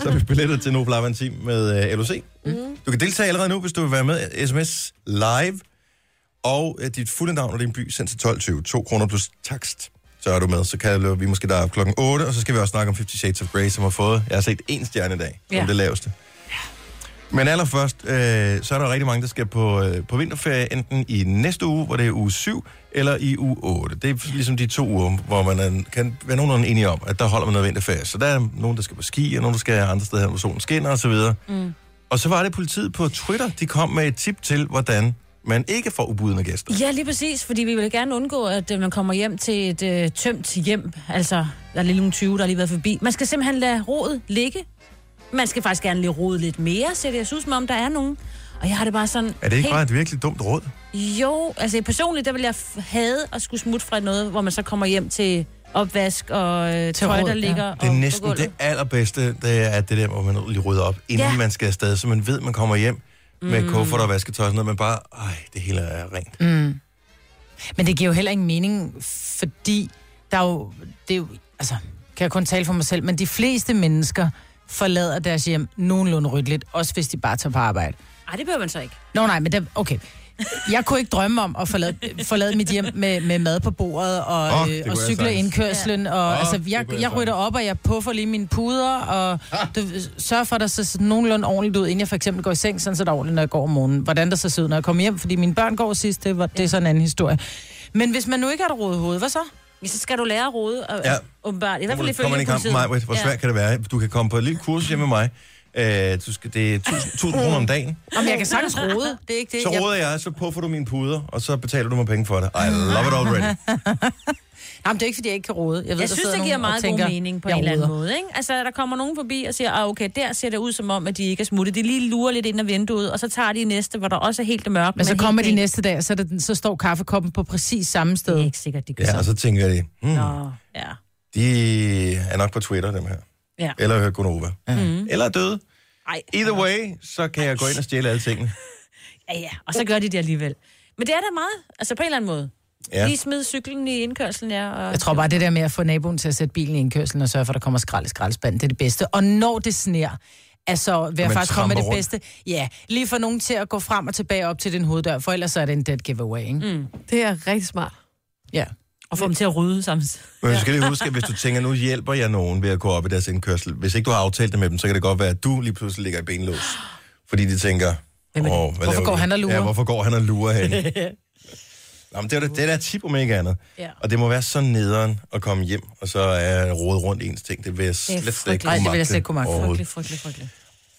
S1: så har vi billetter til Nobel Avantim med uh, LOC. Mm.
S5: Mhm.
S1: Du kan deltage allerede nu, hvis du vil være med. SMS live, og uh, dit fulde navn og din by sendt til 12.20. 2 kroner plus takst, så er du med. Så kan øh, vi måske derop klokken 8, og så skal vi også snakke om 50 Shades of Grey, som har fået, jeg har set én stjerne i dag, som
S4: Ja.
S1: det laveste. Men allerførst, øh, så er der rigtig mange, der skal på, øh, på vinterferie, enten i næste uge, hvor det er uge 7, eller i uge 8. Det er ligesom de to uger, hvor man er, kan være nogenlunde enige om, at der holder man noget vinterferie. Så der er nogen, der skal på ski, og nogen, der skal andre steder, hen, hvor solen skinner osv. Mm. Og så var det politiet på Twitter, de kom med et tip til, hvordan man ikke får ubudne gæster.
S4: Ja, lige præcis, fordi vi vil gerne undgå, at øh, man kommer hjem til et øh, tømt hjem. Altså, der er lige nogle 20, der har lige været forbi. Man skal simpelthen lade rodet ligge. Man skal faktisk gerne lige rode lidt mere, så jeg synes, som om der er nogen. Og jeg har det bare sådan...
S1: Er det ikke
S4: helt-
S1: bare et virkelig dumt råd?
S4: Jo, altså personligt, der vil jeg f- hade at skulle smutte fra noget, hvor man så kommer hjem til opvask og øh, tøj,
S2: råd,
S4: der
S2: ja.
S4: ligger ja.
S1: Det er næsten det allerbedste, det er at det der, hvor man lige rydder op, inden ja.
S4: Ja.
S1: man skal afsted, så man ved, man kommer hjem med mm. kuffert og vasketøj og sådan noget, men bare, ej, det hele er rent.
S2: Mm. Men det giver jo heller ingen mening, fordi der er jo, det er jo, altså, kan jeg kun tale for mig selv, men de fleste mennesker forlader deres hjem nogenlunde ryddeligt, også hvis de bare tager på arbejde.
S4: Nej, det behøver man så ikke.
S2: Nå nej, men der, okay. Jeg kunne ikke drømme om at forlade, forlade mit hjem med, med mad på bordet og,
S1: Åh,
S2: oh,
S1: det
S2: øh,
S1: kunne
S2: og
S1: jeg
S2: cykle
S1: sagtens.
S2: indkørslen. Og,
S1: Åh,
S2: oh, altså,
S1: det
S2: jeg,
S1: kunne jeg Ah.
S2: jeg rydder op, og jeg puffer lige mine puder, og du, sørger for, at der ser nogenlunde ordentligt ud, inden jeg for eksempel går i seng, sådan så der er ordentligt, når jeg går om morgenen. Hvordan der så ser ud, når jeg kommer hjem, fordi mine børn går sidst, det, var, det er sådan en anden historie. Men hvis man nu ikke har et rodet hoved, hvad så?
S4: Ja, så skal du lære at rode, og,
S1: Ja.
S4: ja. åbenbart. I hvert fald
S1: Kommer
S4: ifølge
S1: man i kamp med
S4: politiet.
S1: mig, hvor svært kan det være? Du kan komme på et lille kursus hjemme med mig. Øh, du skal, det er 1000 1000 kroner om dagen.
S2: Om jeg kan sagtens rode, det er ikke det.
S1: Så
S2: Jeg,
S1: råder jeg, så puffer du mine puder, og så betaler du mig penge for det. I love it already.
S2: jamen, det er ikke, fordi jeg ikke kan rode. Jeg, ved,
S4: Jeg
S2: der
S4: synes,
S2: sidder
S4: det giver
S2: nogen og
S4: meget
S2: tænker,
S4: god mening på
S2: jeg
S4: en eller anden
S2: roder.
S4: måde. Ikke? Altså, der kommer nogen forbi og siger, ah, okay, der ser det ud som om, at de ikke er smuttet. De lige lurer lidt ind ad vinduet, og så tager de næste, hvor der også er helt mørkt.
S2: Men så kommer de
S4: helt
S2: næste dag, og så, er det, den- så står kaffekoppen på præcis samme
S4: pænt. Det er
S2: sted.
S4: ikke sikkert, de gør
S1: Ja,
S4: ja,
S1: og så tænker jeg, hmm,
S4: Nå, ja.
S1: de er nok på Twitter, dem her.
S4: Ja.
S1: Eller hører Gunova. Mm. Eller er døde.
S4: Ej,
S1: Either way, så kan jeg gå ind og stjæle alle tingene.
S4: ja, ja. Og så gør de det alligevel. Men det er da meget, altså på en eller anden måde.
S1: Ja.
S4: Ja. Lige smid cyklen i indkørselen, ja. Og...
S2: Jeg tror bare, det der med at få naboen til at sætte bilen i indkørselen og sørge for, at der kommer skrald i skraldespanden, det er det bedste. Og når det sner, altså vil jeg
S1: man
S2: faktisk komme med det
S1: tramper rundt.
S2: bedste. Ja, lige for nogen til at gå frem og tilbage op til din hoveddør, for ellers så er det en dead giveaway, ikke? Mm.
S5: Det er rigtig smart.
S2: Ja.
S4: Og få dem til at rydde samtidig.
S1: Men du skal lige huske, at hvis du tænker, nu hjælper jeg nogen ved at gå op i deres indkørsel. Hvis ikke du har aftalt det med dem, så kan det godt være, at du lige pludselig ligger i benlås. Fordi de tænker, Åh, hvad
S2: Hvorfor
S1: laver
S2: går
S1: vi?"
S2: han og lurer?
S1: Ja, hvorfor går han og lurer hen? Nå, men det er da- det er da et tip, om ikke andet.
S4: Ja.
S1: Og det må være så nederen at komme hjem, og så er rode rundt ens ting. Det vil jeg slet, slet ikke
S4: frygteligt.
S1: kunne
S2: Nej, det vil jeg
S1: magte
S2: slet ikke kunne magte.
S1: overhovedet.
S4: Frygtelig, frygtelig, frygtelig.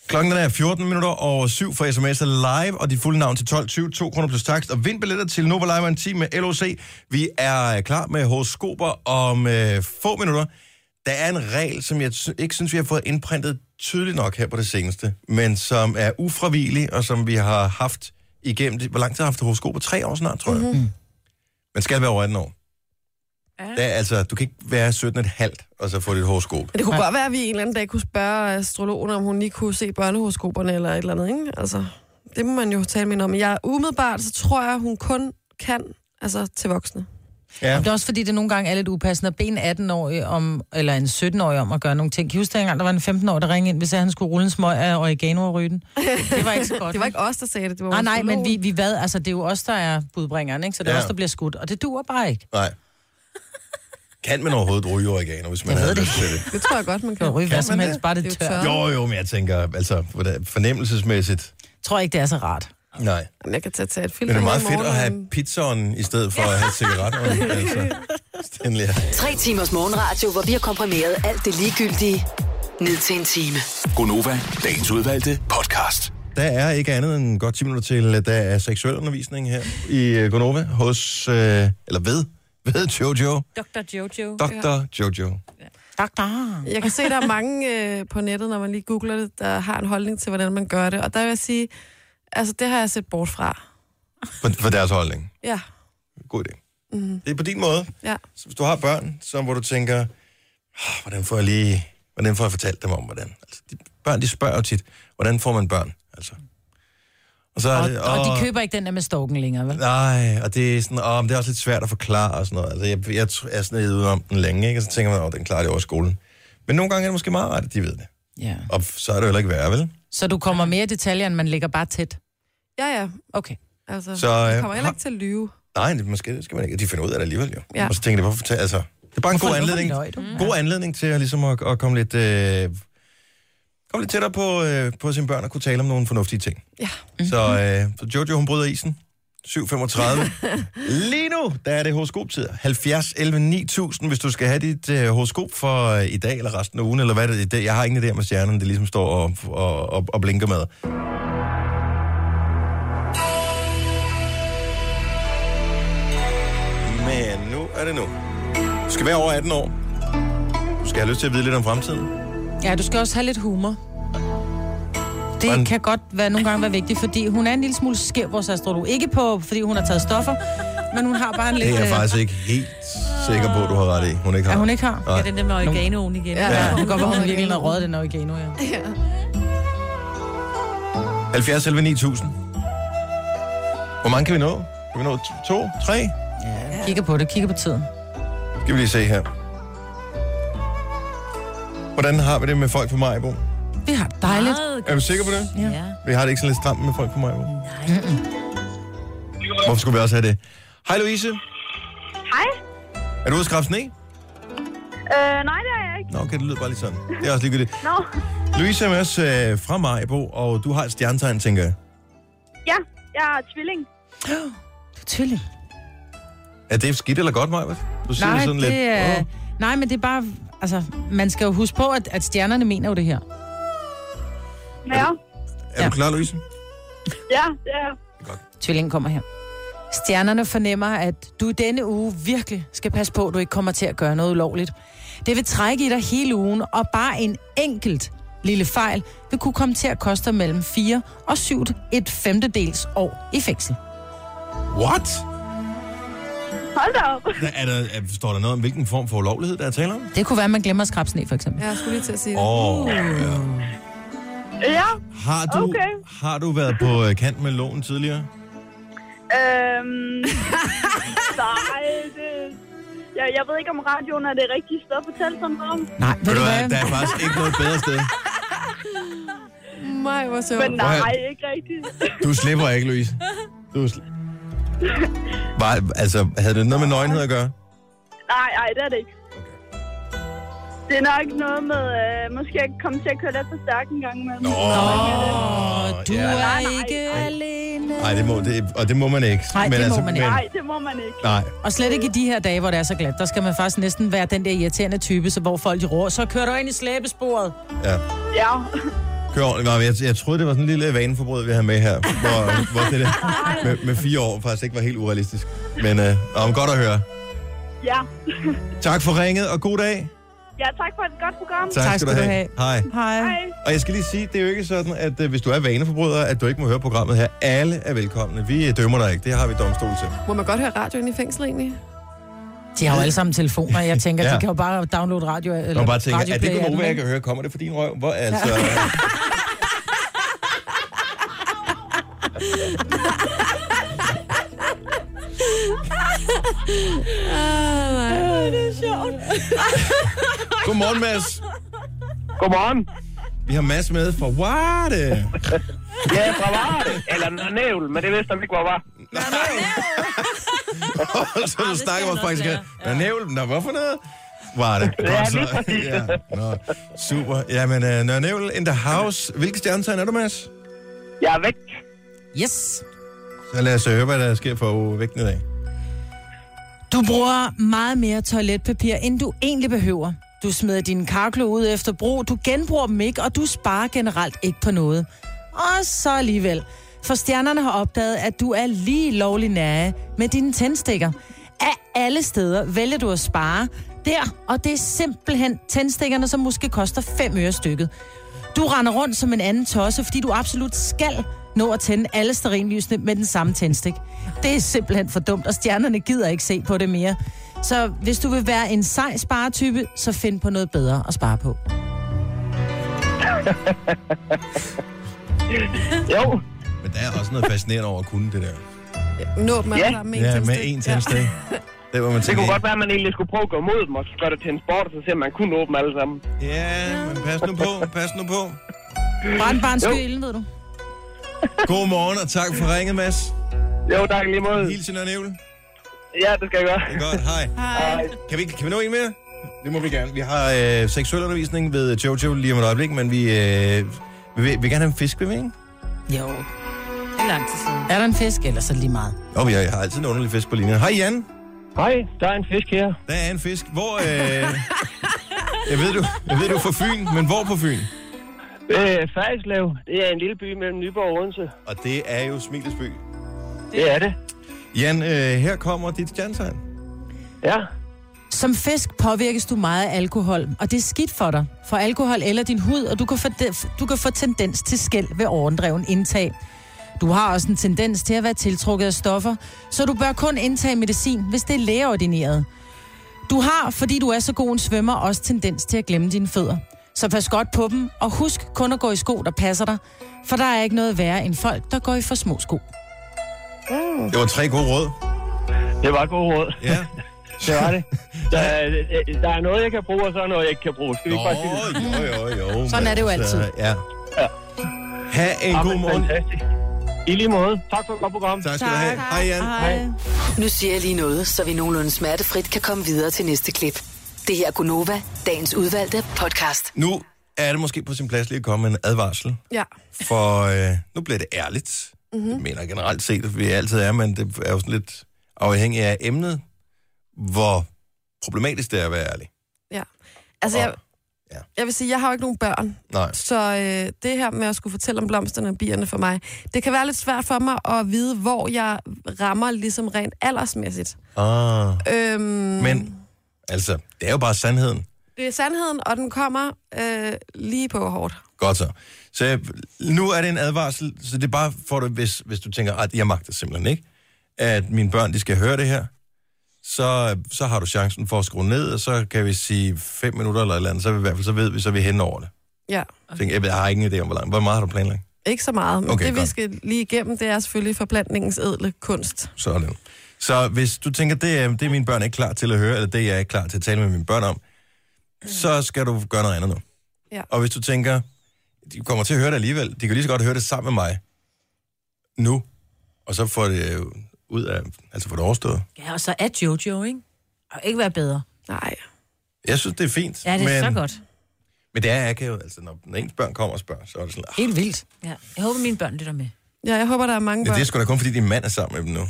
S1: Klokken den er 14 minutter over 7 for sms'er live, og dit fulde navn til 12.20, 2 kroner plus takst, og vind billetter til Nova Live og en time med LOC. Vi er øh, klar med horoskoper om øh, få minutter. Der er en regel, som jeg sy- ikke synes, vi har fået indprintet tydeligt nok her på det seneste, men som er ufravigelig, og som vi har haft igennem... det- Hvor lang tid har vi haft horoskoper? Tre år snart, tror jeg.
S2: Mhm.
S5: Mhm.
S1: Mm-hmm. Man skal være over 18 år. Ja. Der, er altså, du kan ikke være 17 et halvt, og så få dit horoskop.
S5: Men det kunne godt være, at vi en eller anden dag kunne spørge astrologen, om hun lige kunne se børnehoroskoperne eller et eller andet, ikke? Altså, det må man jo tale med hende om. Jeg umiddelbart, så tror jeg, hun kun kan, altså til voksne.
S1: Ja.
S2: Ja. Det er også fordi, det nogle gange er lidt upassende at bede en 18-årig om, eller en 17-årig om at gøre nogle ting. Kan I huske, dengang der var en 15-årig, der ringede ind, hvis han skulle rulle en smøg af oregano og ryge den? Det var ikke så godt.
S5: Det var ikke os, der sagde det. det var
S2: Nej,
S5: vores
S2: Ah, nej, men
S5: psykolog.
S2: vi, vi hvad, altså det er jo os, der er budbringeren, ikke? Så det er
S1: Ja.
S2: ja. os, der bliver skudt, og det duer bare ikke.
S1: Nej. Kan man overhovedet ryge oregano, hvis man
S2: Jeg
S1: havde
S2: ved det
S1: lyst til det?
S5: Det tror jeg godt, man
S2: Du kan
S5: kan.
S2: ryge hvad
S1: man
S2: som helst,
S1: det?
S2: bare det,
S5: Det er
S2: det
S5: jo
S2: tør.
S5: tørt.
S2: Jeg
S1: Jo, jo, men jeg tænker, altså, hvordan- fornemmelsesmæssigt,
S2: tror ikke, det er så rart.
S1: nej.
S5: Jamen, jeg kan tage, tage et filter
S1: Men det er meget
S5: med i
S1: fedt at
S5: morgen,
S1: have pizzaen i stedet for at have cigaretter. altså. Stanley.
S6: Tre timers morgenradio, hvor vi har komprimeret alt det ligegyldige ned til en time.
S7: Gonova, dagens udvalgte podcast.
S1: Der er ikke andet end godt 10 minutter til, at der er seksuel undervisning her i øh, Gonova hos, øh, eller ved, ved Jojo,
S4: Dr. Jojo.
S1: Dr. Jojo.
S2: Doktor.
S5: Jeg kan se, der er mange øh, på nettet, når man lige googler det, der har en holdning til, hvordan man gør det. Og der vil jeg sige, altså det har jeg set bort fra.
S1: For, for deres holdning.
S5: Ja,
S1: God idé. Mm. Det er på din måde.
S5: ja.
S1: Så hvis du har børn, så hvor du tænker, "Ah, hvordan får jeg lige, hvordan får jeg fortalt dem om, hvordan? Altså, de, børn, de spørger jo tit, hvordan får man børn? Altså. Og, så er
S2: Og,
S1: det,
S2: og
S1: "Åh,
S2: de køber ikke den der med storken længere, vel?
S1: Nej, og det er, sådan, åh, men det er også lidt svært at forklare og sådan noget. Altså, jeg, jeg tr- er sådan lidt ude om den længe, ikke? og så tænker man, at den klarer det over skolen. Men nogle gange er det måske meget rart, at de ved det.
S2: Ja.
S1: Og f- så er det jo heller ikke værre, vel?
S2: Så du kommer mere i detaljer, end man ligger bare tæt.
S5: Ja, ja.
S2: Okay.
S5: Altså,
S1: Så,
S5: så,
S1: øh,
S5: øh, jeg kommer heller
S1: har-
S5: ikke til at lyve.
S1: Nej, det, måske det skal man ikke. De finder ud af det alligevel jo. Ja.
S5: Ja.
S1: Og så tænker de, hvorfor fortæl, altså, det er bare en god
S2: Hvorfor
S1: anledning,
S2: løj du?
S1: god anledning til at, ligesom at, at komme lidt... Øh, komme lidt tættere på, øh, på sine børn og kunne tale om nogle fornuftige ting.
S5: Ja.
S1: Så, øh, så Jojo, hun bryder isen. 7.35. Lige nu, der er det horoskoptid. 70, 11, 9000, hvis du skal have dit øh, horoskop for øh, i dag, eller resten af ugen, eller hvad det er. Det- Jeg har ingen idé om, hvad stjernerne det ligesom står og, og, og, og blinker med. Men nu er det nu. Du skal være over 18 år. Du skal have lyst til at vide lidt om fremtiden.
S2: Ja, du skal også have lidt humor. Det
S1: Hvordan?
S2: kan godt være, nogle gange være vigtigt, fordi hun er en lille smule skæv, vores astrolog. Ikke på, fordi hun har taget stoffer, men hun har bare en lidt...
S1: Det er jeg
S2: øh,
S1: faktisk ikke helt sikker på, du har ret i. Hun ikke har.
S2: at hun ikke har.
S4: Ja, den der med oreganoen igen.
S5: Ja.
S4: Ja.
S2: Ja, det kan godt være, hun virkelig har røget den oregano, ja.
S1: 70 11 9000. Hvor mange kan vi nå? Kan vi nå t- to, tre?
S2: Kigger på det, kigger på tiden.
S1: Skal vi lige se her. Hvordan har vi det med folk på Majbo?
S2: Vi har det dejligt.
S1: Er du sikker på det?
S4: Ja. ja.
S1: Vi har det ikke sådan lidt stramt med folk på Majbo. Hvorfor skulle vi også have det? Hej Louise.
S8: Hej.
S1: Er du ude at skrabe sne?
S8: Øh, nej, det er jeg ikke.
S1: Nå, okay, det lyder bare lige sådan. Det er også ligegyldigt.
S8: Nå.
S1: Louise er med os øh, fra Majbo, og du har et stjernetegn, tænker jeg.
S8: Ja, jeg er tvilling.
S2: Du er tvilling.
S1: Er det skidt eller godt, Majbo? Du siger
S2: Nej,
S1: det sådan lidt.
S2: det er...
S1: "Åh."
S2: Nej, men det er bare... Altså, man skal jo huske på, at, at stjernerne mener jo det her.
S8: Ja,
S1: Er du
S2: Ja.
S1: klar, Louise?
S8: ja, det er jeg.
S2: Tvillingen kommer her. Stjernerne fornemmer, at du i denne uge virkelig skal passe på, at du ikke kommer til at gøre noget ulovligt. Det vil trække i dig hele ugen, og bare en enkelt lille fejl vil kunne komme til at koste dig mellem 4 og 7 et femtedels år i fængsel.
S1: What?
S8: Hold da op.
S1: Der er der, er, står der noget om, hvilken form for ulovlighed, der er tale om?
S2: Det kunne være, at man glemmer at skrabe sne, for eksempel.
S5: Ja, jeg skulle lige til at sige det.
S1: Åh, oh,
S8: Ja,
S1: har, du,
S8: Okay.
S1: har du været på øh, kant med loven tidligere?
S8: øhm... nej, det... Jeg, jeg ved ikke, om radioen er det rigtige sted at fortælle sådan noget om.
S2: Nej, ved du
S1: der
S2: hvad?
S1: er faktisk ikke noget bedre sted.
S5: Nej, hvor sjovt.
S8: Men
S1: Prøv at-
S8: nej, ikke rigtigt.
S1: Du slipper ikke, Louise. Du sli- Var, altså, havde det noget med nøgenhed at gøre?
S8: Nej, nej, det er det ikke. Det er nok noget med, øh, måske jeg komme til at køre lidt for stærkt en gang imellem. øh,
S1: Nå,
S2: Du
S1: ja.
S2: er
S8: nej.
S2: ikke alene.
S1: Nej, det må, det, og det må man ikke. altså,
S2: Nej, det må man ikke.
S8: Nej, det må man ikke.
S1: Nej,
S2: Og slet ikke i de her dage, hvor det er så glat. Der skal man faktisk næsten være den der irriterende type, så hvor folk de råber, så kører du ind i slæbesporet.
S1: ja.
S8: Ja,
S1: Kør ordentligt. Maja. Jeg, jeg troede, det var sådan en lille vaneforbrud, vi havde med her, hvor, hvor det der med, med fire år faktisk ikke var helt urealistisk. Men øh, om godt at høre.
S8: ja.
S1: Tak for ringet, og god dag.
S8: Ja, tak for et godt program.
S1: Tak,
S2: skal du
S1: Hej.
S2: Hej.
S8: Hej.
S1: Og jeg skal lige sige, det er jo ikke sådan, at øh, hvis du er vaneforbryder, at du ikke må høre programmet her. Alle er velkomne. Vi øh, dømmer dig ikke. Det har vi domstol til.
S5: Må man godt høre radioen i fængsel egentlig?
S2: De har jo alle sammen telefoner. Jeg tænker,
S1: Ja.
S2: ja. de kan jo bare downloade radio. Eller
S1: Og bare tænker, er det
S2: radioplay af
S1: Gonova,
S2: den,
S1: jeg
S2: ikke?
S1: kan høre? Kommer det fra din røv? Hvor, altså... Godmorgen, Mads.
S9: Godmorgen.
S1: Vi har Mads med fra Varde.
S9: Ja, fra Varde. Eller Nævl, men det vidste han ikke, hvor var.
S1: Og så du snakker om
S4: nok
S1: faktisk.
S4: være,
S1: Ja. Nævl, nå, hvorfor noget? Var det?
S9: Ja,
S1: Nå, så-
S9: lige præcis.
S1: ja. Nå, super. Jamen, uh, Nørre Nævl in the house. Hvilket stjernetegn er du, Mads?
S9: Jeg er væk.
S2: Yes.
S1: Så lad os øh, høre, hvad der sker for vægten i dag.
S2: Du bruger meget mere toiletpapir, end du egentlig behøver. Du smider dine karklo ud efter brug, du genbruger dem ikke, og du sparer generelt ikke på noget. Og så alligevel. For stjernerne har opdaget, at du er lige lovlig nære med dine tændstikker. Af alle steder vælger du at spare der, og det er simpelthen tændstikkerne, som måske koster 5 øre stykket. Du render rundt som en anden tosse, fordi du absolut skal nå at tænde alle sterinlysene med den samme tændstik. Det er simpelthen for dumt, og stjernerne gider ikke se på det mere. Så hvis du vil være en sej sparetype, så find på noget bedre at spare på.
S9: Jo.
S1: Men der er også noget fascinerende over at kunne det der.
S5: Nå dem alle
S9: Ja.
S5: sammen med en
S1: Ja, med
S5: tændstik.
S1: én tændstik. Det var man
S9: Det
S1: tænker,
S9: kunne godt være, at man egentlig skulle prøve at gå imod dem, og så gøre det til en sport, og så se, om man kunne nå dem alle sammen.
S1: ja, men pas nu på, pas nu på.
S2: Brænd bare en sky
S9: Jo.
S2: i ilden, ved du.
S1: God morgen, og tak for ringet, Mads.
S9: Jo, tak i lige måde.
S1: Hilsen og Nævl.
S9: Ja, det skal jeg gøre.
S1: Det er godt, hej.
S9: Hej.
S1: Kan vi, kan vi nå en mere? Det må vi gerne. Vi har øh, seksuel undervisning ved øh, Jojo lige om et øjeblik, men vi øh, vi vil, vil gerne have en fisk, vil vi ikke?
S2: Jo.
S4: Det er lang tid siden.
S2: Er der en fisk, eller så er det lige meget?
S1: Og vi har, jeg har altid en underlig fisk på linjen. Hej Jan,
S9: Hej, der er en fisk her.
S1: der er en fisk. Hvor, øh, jeg, ved, du, jeg ved, du er fra Fyn, men hvor på Fyn?
S9: Øh, Færislev, det er en lille by mellem Nyborg og Odense.
S1: Og det er jo Smilets by.
S9: Det er det.
S1: Jan, øh, her kommer dit stjernetegn.
S9: Ja.
S2: Som fisk påvirkes du meget af alkohol, og det er skidt for dig. For alkohol eller din hud, og du kan få, du kan få tendens til skæld ved overdreven indtag. Du har også en tendens til at være tiltrukket af stoffer, så du bør kun indtage medicin, hvis det er lægeordineret. Du har, fordi du er så god en svømmer, også tendens til at glemme dine fødder. Så pas godt på dem, og husk kun at gå i sko, der passer dig. For der er ikke noget værre end folk, der går i for små sko.
S1: Det var tre gode råd.
S9: Det var et godt råd.
S1: Ja.
S9: Det var det. Der, er- der er noget, jeg kan bruge, og så er noget, jeg ikke kan bruge. Skal vi
S1: Nå,
S9: ikke bare sige det?
S1: jo, jo, jo.
S2: Sådan er det jo
S1: men altså, Ja.
S9: Ja.
S1: Ha' en
S9: Ja,
S1: god
S9: men
S1: morgen.
S9: Fantastisk. I lige måde. Tak for et godt program.
S1: Tak skal du have. Hej Jan.
S2: Hej.
S6: Nu siger jeg lige noget, så vi nogenlunde smertefrit kan komme videre til næste klip. Det her er Gunova, dagens udvalgte podcast.
S1: Nu er det måske på sin plads lige at komme med en advarsel.
S5: Ja.
S1: For øh, nu bliver det ærligt.
S2: Mhm.
S1: Mm-hmm. Det mener jeg generelt set, at vi altid er, men det er jo sådan lidt afhængigt af emnet, hvor problematisk det er at være ærlig.
S5: ja. Altså, jeg,
S1: Ja.
S5: jeg vil sige, jeg har jo ikke nogen børn,
S1: Nej.
S5: Så øh, det her med at skulle fortælle om blomsterne og bierne for mig, det kan være lidt svært for mig at vide, hvor jeg rammer ligesom rent aldersmæssigt.
S2: Mm.
S1: Ah.
S5: Øhm,
S1: Men altså, det er jo bare sandheden.
S5: Det er sandheden, og den kommer øh, lige på hårdt.
S1: Godt så. Så øh, nu er det en advarsel, så det er bare for dig, hvis, hvis du tænker, at jeg magter simpelthen ikke, at mine børn, de skal høre det her, så, så har du chancen for at skrue ned, og så kan vi sige fem minutter eller et eller andet, så, er vi, i hvert fald, så ved vi, så er vi hen over det.
S5: Ja.
S1: Okay. Tænk, jeg, ved- jeg har ingen idé om, hvor langt. Hvor meget har du planlagt?
S5: Ikke så meget, men
S1: Okay,
S5: okay, det vi
S1: godt.
S5: skal lige igennem, det er selvfølgelig forplantningens edle kunst.
S1: Sådan. Så hvis du tænker, det er, det er mine børn ikke klar til at høre, eller det er jeg ikke klar til at tale med mine børn om, så skal du gøre noget andet nu.
S5: Ja.
S1: Og hvis du tænker, de kommer til at høre det alligevel, de kan lige så godt høre det sammen med mig nu, og så får det øh, ud af, altså får det overstået.
S4: Ja, og så er Jojo, ikke? Og ikke være bedre.
S5: Nej.
S1: Jeg synes, det er fint.
S4: Ja, det er
S1: men,
S4: men... så godt.
S1: Men det er akavet, altså når, når ens børn kommer og spørger, så er det sådan, ah,
S2: Helt vildt.
S4: Ja. Jeg håber, mine børn lytter med.
S5: Ja, jeg håber, der er mange
S1: ja,
S5: børn.
S1: det er sgu da kun fordi din mand er sammen med dem nu.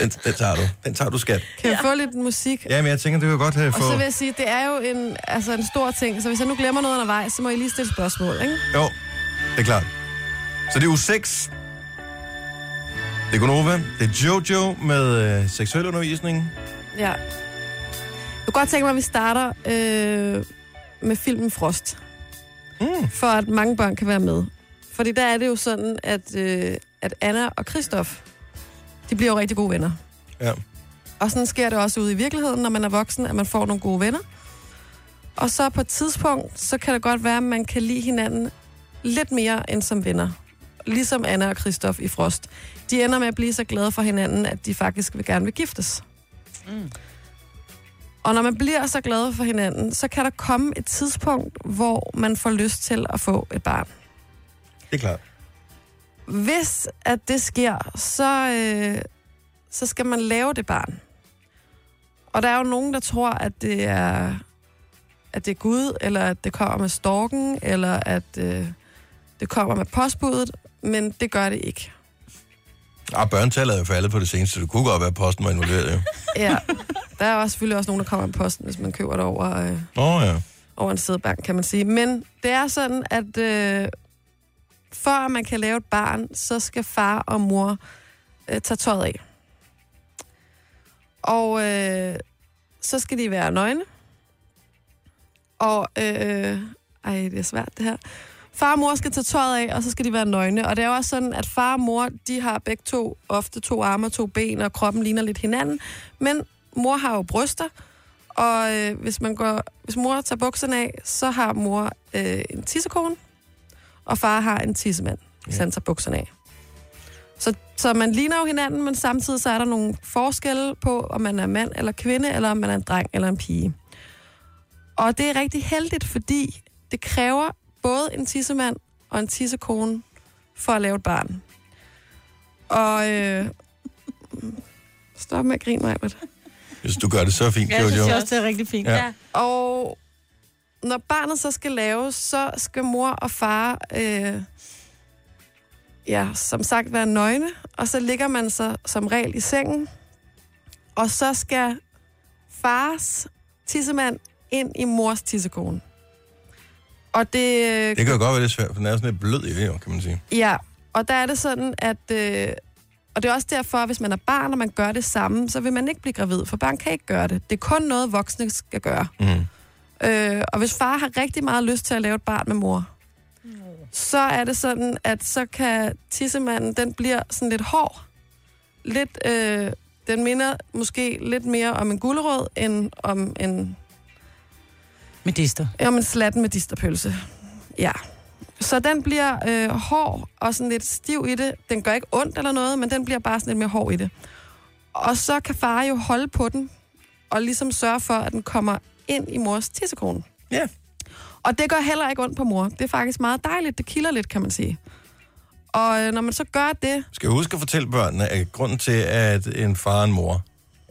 S1: den, den tager du. Den tager du, skat.
S5: Kan jeg få lidt musik?
S1: Ja, men jeg tænker, det kan godt have
S5: Og
S1: få...
S5: så vil jeg sige, det er jo en, altså en stor ting, så hvis jeg nu glemmer noget undervejs, så må I lige stille spørgsmål, ikke?
S1: Jo, det er klart. Så det er uge 6. Det er Gunova. Det er Jojo med øh, seksuel undervisning.
S5: Ja. Jeg kunne godt tænke mig, at vi starter øh, med filmen Frost. Mm. For at mange børn kan være med. Fordi der er det jo sådan, at, øh, at Anna og Kristoff, de bliver jo rigtig gode venner.
S1: Ja.
S5: Og sådan sker det også ude i virkeligheden, når man er voksen, at man får nogle gode venner. Og så på et tidspunkt, så kan det godt være, at man kan lide hinanden lidt mere end som venner. ligesom Anna og Kristoff i Frost. De ender med at blive så glade for hinanden, at de faktisk vil gerne vil giftes.
S2: Mm.
S5: Og når man bliver så glad for hinanden, så kan der komme et tidspunkt, hvor man får lyst til at få et barn.
S1: Det er klart.
S5: Hvis at det sker, så, øh, så skal man lave det barn. Og der er jo nogen, der tror, at det er, at det er Gud, eller at det kommer med storken, eller at øh, det kommer med postbuddet, men det gør det ikke.
S1: Ah, børnetallet er jo faldet på det seneste. Det kunne godt være, at posten var involveret, jo.
S5: Ja, der er også selvfølgelig også nogen, der kommer med posten, hvis man køber det over... Øh,
S1: Nå ja.
S5: over en sædbank, kan man sige. Men det er sådan, at øh, før man kan lave et barn, så skal far og mor øh, tage tøjet af. Og øh, så skal de være nøgne. Og, øh, ej, det er svært det her. Far og mor skal tage tøjet af, og så skal de være nøgne. Og det er jo også sådan, at far og mor, de har begge to, ofte to arme og to ben, og kroppen ligner lidt hinanden. Men mor har jo bryster, og øh, hvis, man går, hvis mor tager bukserne af, så har mor øh, en tissekone, og far har en tissemand, hvis
S1: Ja.
S5: han tager bukserne af. Så, så man ligner jo hinanden, men samtidig så er der nogle forskelle på, om man er mand eller kvinde, eller om man er en dreng eller en pige. Og det er rigtig heldigt, fordi det kræver både en tissemand og en tissekone for at lave et barn. Og øh, stop med at grine mig,
S1: Hvis du gør det så fint,
S2: Ja,
S1: Jojo.
S2: jeg synes også, det er rigtig fint.
S1: Ja.
S2: Ja.
S5: Og når barnet så skal laves, så skal mor og far, øh, ja, som sagt være nøgne, og så ligger man så som regel i sengen, og så skal fars tissemand ind i mors tissekone. Og det, øh,
S1: Det kan jo godt være lidt svært, for den er sådan lidt blød i det, jo, kan man sige.
S5: Ja, og der er det sådan, at... Øh, og det er også derfor, at hvis man er barn, og man gør det samme, så vil man ikke blive gravid, for barn kan ikke gøre det. Det er kun noget, voksne skal gøre.
S1: Mm.
S5: Øh, og hvis far har rigtig meget lyst til at lave et barn med mor, så er det sådan, at så kan tissemanden, den bliver sådan lidt hård. Lidt, øh, den minder måske lidt mere om en gulerod, end om en
S2: Med dister.
S5: Ja, men slatten med disterpølse. Ja. Så den bliver øh, hård og sådan lidt stiv i det. Den gør ikke ondt eller noget, men den bliver bare sådan lidt mere hård i det. Og så kan far jo holde på den, og ligesom sørge for, at den kommer ind i mors tissekone.
S1: Ja.
S5: Og det gør heller ikke ondt på mor. Det er faktisk meget dejligt. Det kilder lidt, kan man sige. Og øh, når man så gør det,
S1: Skal huske at fortælle børnene, at grunden til, at en far og en mor,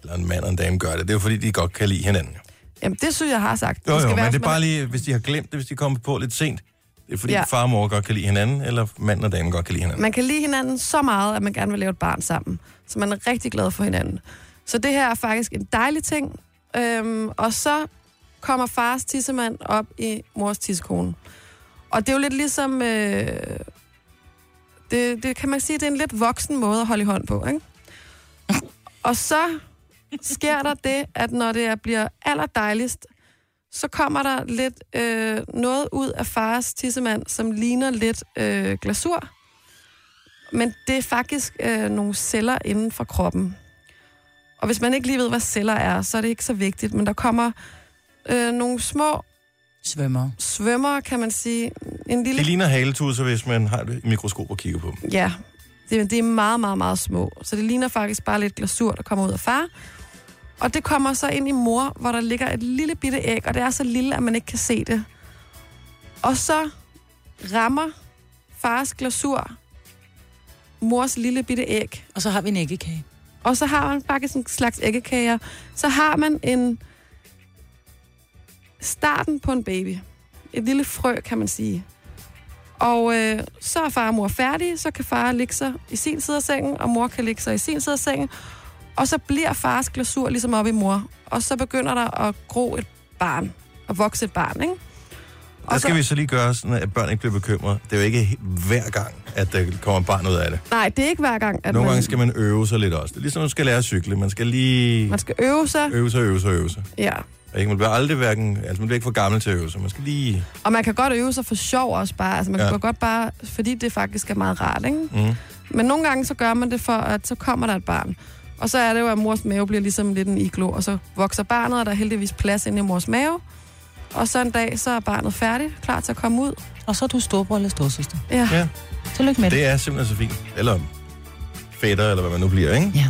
S1: eller en mand og en dame gør det, det er jo fordi, de godt kan lide hinanden. Jo,
S5: jamen det synes jeg, jeg har sagt.
S1: jo,
S5: skal være,
S1: jo men det er
S5: hvis man-
S1: bare lige, hvis de har glemt det, hvis de kommer på lidt sent. Det er fordi, ja.
S5: Ja.
S1: far og mor godt kan lide hinanden, eller mand og dame godt kan lide hinanden.
S5: Man kan lide hinanden så meget, at man gerne vil lave et barn sammen. Så man er rigtig glad for hinanden. Så det her er faktisk en dejlig ting. Øhm, og så kommer fars tissemand op i mors tissekone. Og det er jo lidt ligesom... Øh, det, det kan man sige, det er en lidt voksen måde at holde i hånd på, ikke? Og så sker der det, at når det er- bliver allerdejligst, så kommer der lidt øh, noget ud af fars tissemand, som ligner lidt øh, glasur. Men det er faktisk øh, nogle celler inden for kroppen. Og hvis man ikke lige ved, hvad celler er, så er det ikke så vigtigt. Men der kommer øh, nogle små
S2: Svømmer.
S5: svømmer, kan man sige. En lille
S1: Det ligner haletusser, hvis man har et mikroskop og kigger på dem.
S5: Ja, det, det er meget, meget, meget små. Så det ligner faktisk bare lidt glasur, der kommer ud af far. Og det kommer så ind i mor, hvor der ligger et lille bitte æg, og det er så lille, at man ikke kan se det. Og så rammer fars glasur mors lille bitte æg,
S2: Og så har vi en æggekage.
S5: og så har man faktisk en slags æggekager. Så har man en starten på en baby. Et lille frø, kan man sige. Og øh, så er far og mor færdige, så kan far ligge sig i sin side af sengen, og mor kan ligge sig i sin side af sengen. Og så bliver fars glasur ligesom op i mor. Og så begynder der at gro et barn, at vokse et barn, ikke? Og
S1: Der
S5: så-
S1: Altså, skal vi så lige gøre sådan, at børn ikke bliver bekymrede. Det er jo ikke hver gang, at der kommer et barn ud af det.
S5: Nej, det er ikke hver gang, at
S1: Nogle
S5: man,
S1: gange skal man øve sig lidt også. Det er ligesom, at man skal lære at cykle. Man skal lige
S5: man skal øve sig.
S1: øve sig, øve sig, øve sig.
S5: Ja,
S1: Og ikke, man bliver aldrig hverken, altså man bliver ikke for gammel til at øve sig. Man skal lige...
S5: Og man kan godt øve sig for sjov også bare. Altså man
S1: Ja.
S5: ja. kan godt bare, fordi det faktisk er meget rart, ikke?
S1: Mm.
S5: Men nogle gange så gør man det for, at så kommer der et barn. Og så er det jo, at mors mave bliver ligesom lidt en iglo, og så vokser barnet, og der er heldigvis plads inde i mors mave. og så en dag, så er barnet færdigt, klar til at komme ud.
S2: Og så er du storbror eller storsøster.
S5: Ja.
S1: Ja.
S2: Tillykke med det.
S1: Det er simpelthen så fint. Eller fætter, eller hvad man nu bliver, ikke?
S2: Ja.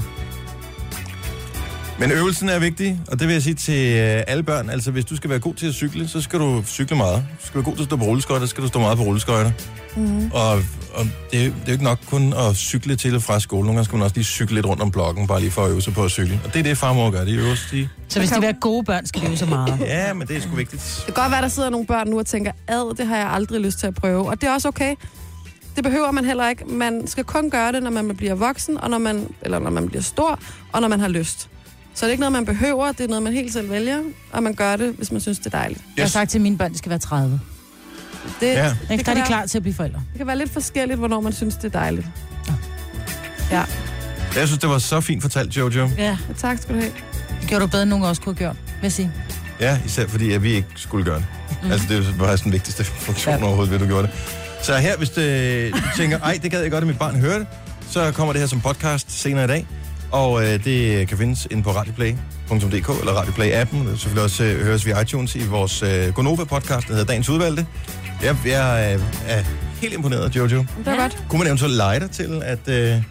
S1: Men øvelsen er vigtig, og det vil jeg sige til øh, alle børn. Altså, hvis du skal være god til at cykle, så skal du cykle meget. Du skal være god til at stå på rulleskøjter, så skal du stå meget på rulleskøjter. Mm. Og, og det, er jo- det er jo ikke nok kun at cykle til og fra skole. Nogle gange skal man også lige cykle lidt rundt om blokken, bare lige for at øve sig på at cykle. Og det er det, farmor gør. Det er øvelsen, de...
S2: Så hvis de vil være gode børn, skal de jo så meget.
S1: Ja, men det er sgu vigtigt.
S5: Det kan godt være, der sidder nogle børn nu og tænker, ad, det har jeg aldrig lyst til at prøve. Og det er også okay. Det behøver man heller ikke. Man skal kun gøre det, når man bliver voksen, og når man, eller når man bliver stor, og når man har lyst. Så det er ikke noget, man behøver, det er noget, man helt selv vælger, og man gør det, hvis man synes, det er dejligt.
S2: Jeg har sagt til mine børn, de skal være 30.
S5: Det,
S1: Ja.
S5: ja.
S2: Ikke?
S5: det,
S2: Der
S5: kan
S2: er de
S5: være,
S2: klar til at blive forældre.
S5: det kan være lidt forskelligt, hvornår man synes, det er dejligt.
S1: Jeg synes, det var så fint fortalt, Jojo.
S2: Ja.
S5: Ja, tak skal du have.
S2: Det gjorde du bedre, end nogen også kunne have gjort, vil jeg sige.
S1: Ja, især fordi, at vi ikke skulle gøre det. Mm. Altså, det var faktisk den vigtigste funktion ja. overhovedet, ved at du gjorde det. Så her, hvis det, du tænker, ej, det gad jeg godt, at mit barn hører det, så kommer det her som podcast senere i dag. Og øh, det kan findes inde på radioplay.dk eller radioplay-appen. Det kan selvfølgelig også øh, høres via iTunes i vores øh, Gonova-podcast, der hedder Dagens Udvalgte. Jeg, jeg øh, er helt imponeret, Jojo.
S5: Det var ja. godt.
S1: Kunne man eventuelt lege dig til, at... Øh, jeg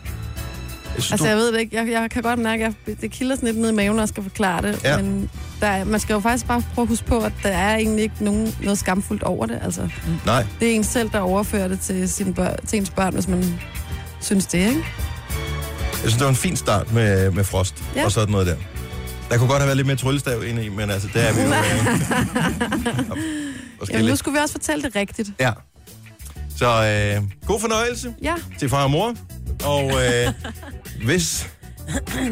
S1: synes,
S5: Altså, jeg
S1: du,
S5: ved det ikke. Jeg, jeg kan godt mærke, at jeg, det kilder sådan lidt ned i maven, når jeg skal forklare det.
S1: Ja.
S5: Ja. Men der er, man skal jo faktisk bare prøve at huske på, at der er egentlig ikke nogen, noget skamfuldt over det. Altså,
S1: nej,
S5: det er en selv, der overfører det til, sine børn, til ens børn, hvis man synes det, ikke?
S1: jeg synes, det var en fin start med, med frost ja.
S5: Ja.
S1: og sådan noget der. Der kunne godt have været lidt mere tryllestav inde i, men altså, det er vi jo... Øh, og skal
S5: Jamen, nu
S1: lidt.
S5: skulle vi også fortælle det rigtigt.
S1: Ja. Så øh, god fornøjelse
S5: Ja,
S1: til far og mor. Og øh, hvis...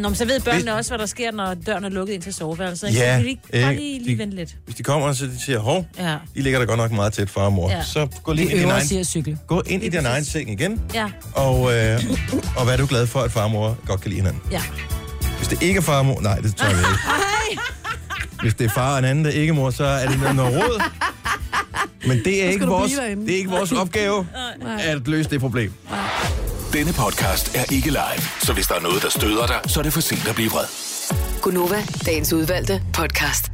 S4: Nå, men så ved børnene også, hvad der sker, når døren er lukket ind til soveværelset. Ikke?
S1: Ja,
S4: Så kan de ikke bare
S1: øh,
S4: lige,
S1: de-
S4: lige vente lidt.
S1: Hvis de kommer, og så de siger, hov,
S4: Ja.
S1: I ligger der godt nok meget tæt, far og mor. Ja.
S4: Ja.
S1: Så gå lige
S2: De
S1: ind i din
S2: øver
S1: egen,
S2: sig at cykle.
S1: gå ind i din egen seng igen,
S4: Ja,
S1: og, øh, og vær du glad for, at far og mor godt kan lide hinanden.
S4: ja.
S1: Hvis det ikke er far og mor, nej, det tror jeg ikke. Hvis det er far og en anden, der ikke er mor, så er det noget noget råd. Men det er, ikke
S5: du
S1: vores,
S5: blive derinde.
S1: det er ikke vores opgave at løse det problem.
S7: Denne podcast er ikke live, så hvis der er noget, der støder dig, så er det for sent at blive vred.
S6: Gunova, dagens udvalgte podcast.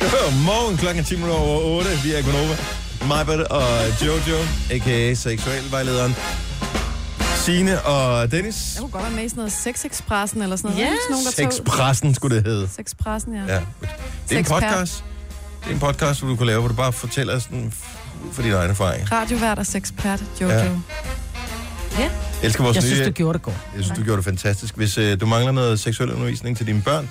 S1: Godmorgen, klokken er 10 minutter over 8. Vi er Gunova. Majbert og Jojo, a.k.a. seksualvejlederen. Signe og Dennis.
S5: jeg kunne godt være med i sådan noget Sexexpressen eller sådan noget.
S4: Ja.
S5: Ikke Sådan nogen, der tog...
S1: Sexpressen skulle det hedde.
S5: Sexpressen, ja.
S1: Ja. Det er en
S5: Sexpert.
S1: podcast. Det er en podcast, hvor du kan lave, hvor du bare fortæller sådan f- for dine egne erfaringer.
S5: Radiovært og sexpert, Jojo.
S1: Ja.
S5: Ja.
S1: Jeg elsker vores
S2: Jeg synes,
S1: nye...
S2: du gjorde det godt.
S1: Jeg synes, du gjorde det fantastisk. Hvis øh, du mangler noget seksuel undervisning til dine børn,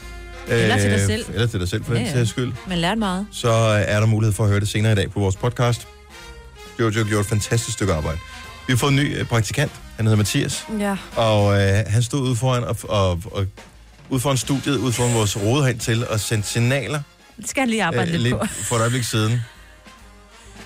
S1: øh,
S4: Eller til dig selv.
S1: Eller til dig selv, for den
S4: Ja, ja.
S1: sags skyld.
S4: Man lærte meget.
S1: Så øh, er der mulighed for at høre det senere i dag på vores podcast. Jojo gjorde et fantastisk stykke arbejde. Vi har fået en ny øh, praktikant. Han hedder Mathias.
S5: ja.
S1: Og øh, han stod ude foran, og, og, og, ude foran studiet, ude foran vores råd hen til, og sendte signaler
S4: Det skal jeg lige arbejde øh, lidt på.
S1: for et øjeblik siden.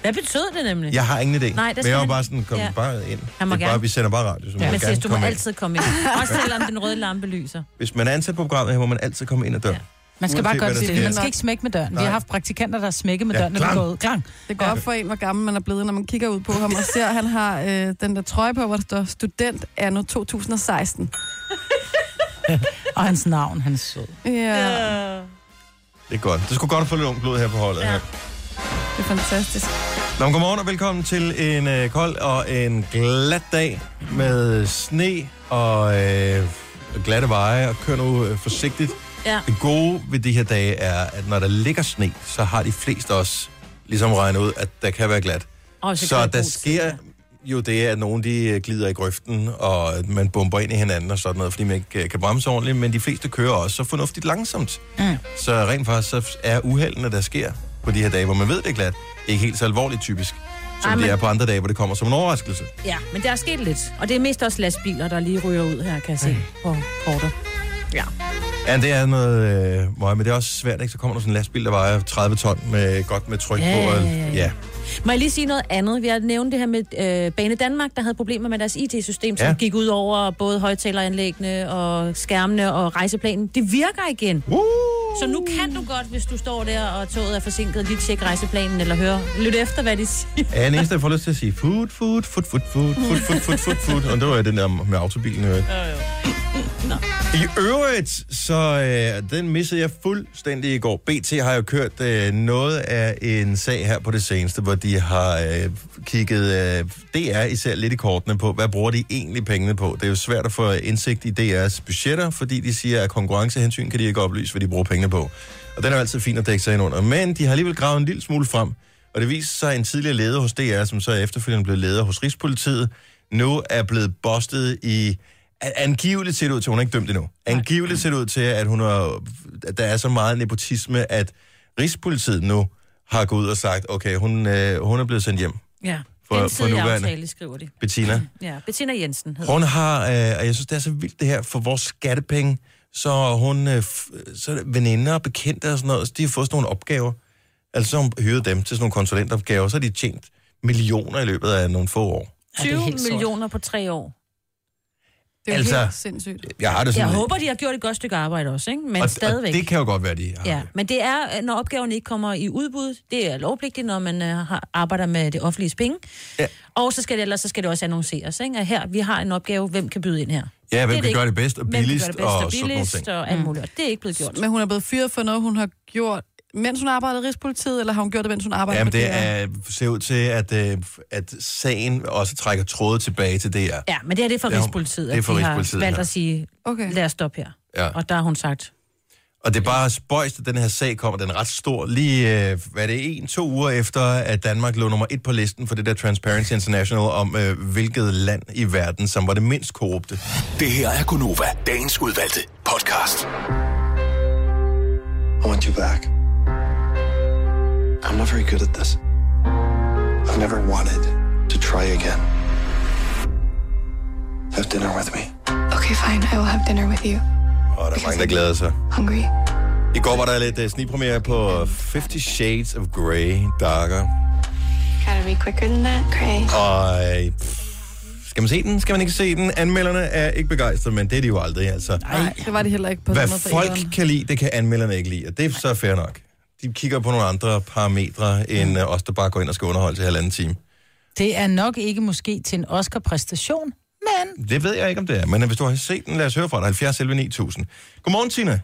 S4: Hvad betød det nemlig?
S1: Jeg har ingen idé.
S4: Nej, der
S1: men
S4: skal
S1: jeg var
S4: han-
S1: bare sådan, kom ja.
S4: Ja.
S1: bare ind.
S4: Han må
S1: det er bare,
S4: gerne.
S1: vi sender bare radio, så ja.
S4: Ja,
S1: man
S4: men
S1: må gerne
S4: du må
S1: komme ind.
S4: altid komme ind. Også selvom den røde lampe lyser.
S1: Hvis man er ansat på programmet her, må man altid komme ind ad døren. Ja.
S4: Ja.
S2: Man skal
S1: Uanset
S2: bare
S1: hvad
S2: gøre det
S1: der
S2: stille.
S1: sker.
S2: Man skal ikke smække med døren. Vi
S1: Nej.
S2: har haft praktikanter, der smækker med
S1: Ja,
S2: døren, når de
S1: klang.
S2: går ud. Klang.
S5: Det går
S2: Ja.
S5: op for en, hvor gammel man er blevet, når man kigger ud på ham og ser, at han har øh, den der trøje på, hvor der står student anno 2016.
S2: Og hans navn, han er sød.
S5: Ja, yeah.
S1: Det er godt. Det skulle godt at få lidt ung blod her på holdet. Ja. Her.
S5: det er fantastisk.
S1: Nå, men godmorgen og velkommen til en øh, kold og en glat dag med sne og øh, glatte veje. Og kør nu øh, forsigtigt.
S4: Ja.
S1: Det gode ved de her dage er, at når der ligger sne, så har de fleste også ligesom regnet ud, at der kan være glat.
S4: Og
S1: Så,
S4: kan
S1: så
S4: jeg
S1: der
S4: bruge tid,
S1: sker jo det, at nogen de øh, glider i grøften, og at man bomber ind i hinanden og sådan noget, fordi man ikke øh, kan bremse ordentligt, men de fleste kører også så fornuftigt langsomt. Mm. Så rent faktisk så er uheldene, der sker på de her dage, hvor man ved det er glat, ikke helt så alvorligt typisk, som
S4: Ej,
S1: det
S4: men-
S1: er på andre dage, hvor det kommer som en overraskelse.
S4: Ja, men der er sket lidt. Og det er mest også lastbiler, der lige ryger ud her, kan jeg se på kortet.
S1: Ja, det er noget øh, møg, men det er også svært, ikke? Så kommer der sådan en lastbil, der vejer 30 ton med godt med tryk
S4: Ja,
S1: på. Og,
S4: ja, ja, ja.
S1: ja.
S4: Må jeg lige sige noget andet? Vi har nævnt det her med øh, Bane Danmark, der havde problemer med deres IT-system, som
S1: Ja.
S4: ja. gik ud over både højtaleranlæggene og skærmene og rejseplanen. Det virker igen.
S1: Woo!
S4: Så nu kan du godt, hvis du står der, og toget er forsinket, lige tjekke rejseplanen, eller høre, lyt efter, hvad de siger.
S1: Jeg er den eneste, der får lyst til at sige food, food, food, food, food, food, food, food, food, food. Og det var jo den der med autobilen. Øh. I øvrigt, så øh, den missede jeg fuldstændig i går. BT har jo kørt øh, noget af en sag her på det seneste, hvor de har øh, kigget øh, DR især lidt i kortene på, hvad bruger de egentlig pengene på. Det er jo svært at få indsigt i DR's budgetter, fordi de siger, at konkurrencehensyn kan de ikke oplyse, hvad de bruger pengene på. Og den er jo altid fint at dække sig ind under. Men de har alligevel gravet en lille smule frem, og det viser sig, at en tidligere leder hos DR, som så efterfølgende blev leder hos Rigspolitiet, nu er blevet bustet i... an- Angiveligt ser det ud til, hun er ikke dømt endnu. Angiveligt ser det ud til, at, hun er, at der er så meget nepotisme, at Rigspolitiet nu har gået ud og sagt, okay, hun, øh, hun er blevet sendt hjem,
S4: Ja,
S1: For- for
S4: Gensidig
S1: nuværende.
S4: aftale, skriver de.
S1: Bettina.
S4: Ja, Bettina Jensen hedder
S1: Hun har, øh, og jeg synes, det er så vildt det her, for vores skattepenge, så er hun, øh, f- så er det veninder og bekendte og sådan noget, så de har fået sådan nogle opgaver. Altså, så har hun hyret dem til sådan nogle konsulentopgaver, så har de tjent millioner i løbet af nogle få år.
S2: Ja, det er
S4: 20
S2: helt sort.
S4: millioner på tre år.
S3: Det er jo
S1: Altså,
S3: helt sindssygt.
S1: Jeg har det sådan
S4: Jeg håber, de har gjort et godt stykke arbejde også, ikke? men
S1: og,
S4: stadigvæk.
S1: Og det kan jo godt være, de har.
S4: Ja, men det er, øh, når opgaven ikke kommer i udbud, det er lovpligtigt, når man øh, har- arbejder med det offentlige penge.
S1: Ja.
S4: Og så skal det, ellers så skal det også annonceres. Ikke? Og her, vi har en opgave, hvem kan byde ind her?
S1: ja hvem
S4: det
S1: kan
S4: ikke.
S1: gøre det bedst og
S4: Hvem kan
S1: billigst,
S4: gøre det bedst og
S1: sådan nogle ting.
S4: billigst og alt muligt. Og det er ikke blevet gjort.
S5: Mm.
S3: Men hun er blevet fyret for noget, hun har gjort, mens hun arbejdede i Rigspolitiet, eller har hun gjort det, mens hun arbejdede
S1: Jamen,
S3: på
S1: det
S3: DR?
S1: er, ser ud til, at, øh, at sagen også trækker tråde tilbage til DR.
S4: Ja, men det her det er for
S1: Ja, hun-
S4: Rigspolitiet,
S1: det er
S4: at
S1: for
S4: de har
S1: Rigspolitiet,
S4: valgt
S1: ja.
S4: at sige,
S3: Okay.
S4: lad os stoppe her.
S1: Ja.
S4: Og der har hun sagt,
S1: Og det er bare spøjst, at den her sag kommer. Den er ret stor. Lige, øh, hvad er det en, to uger efter, at Danmark lå nummer et på listen for det der Transparency International om, øh, hvilket land i verden, som var det mindst korrupte.
S7: Det her er Gunova, dagens udvalgte podcast.
S10: I want you back. I'm not very good at this. I've never wanted to try again. Have dinner with me.
S11: Okay, fine. I will have dinner with you.
S1: Og der er mange, der glæder sig.
S11: Hungry?
S1: I går var der lidt øh, snigpremiere på 50 Shades of Grey, Darker.
S11: Gotta be quicker than that, Cray.
S1: Og øh, pff, skal man se den? Skal man ikke se den? Anmelderne er ikke begejstrede, men det er de jo aldrig, altså.
S3: Nej, det var det heller ikke på
S1: Hvad
S3: den måde for
S1: folk
S3: etteren.
S1: kan lide, det kan anmelderne ikke lide, og det er så fair nok. De kigger på nogle andre parametre, end øh, os, der bare går ind og skal underholde til halvanden time.
S2: Det er nok ikke måske til en Oscar-præstation, men
S1: Det ved jeg ikke, om det er, men øh, hvis du har set den, lad os høre fra dig. 70 11 9000. Godmorgen, Tina.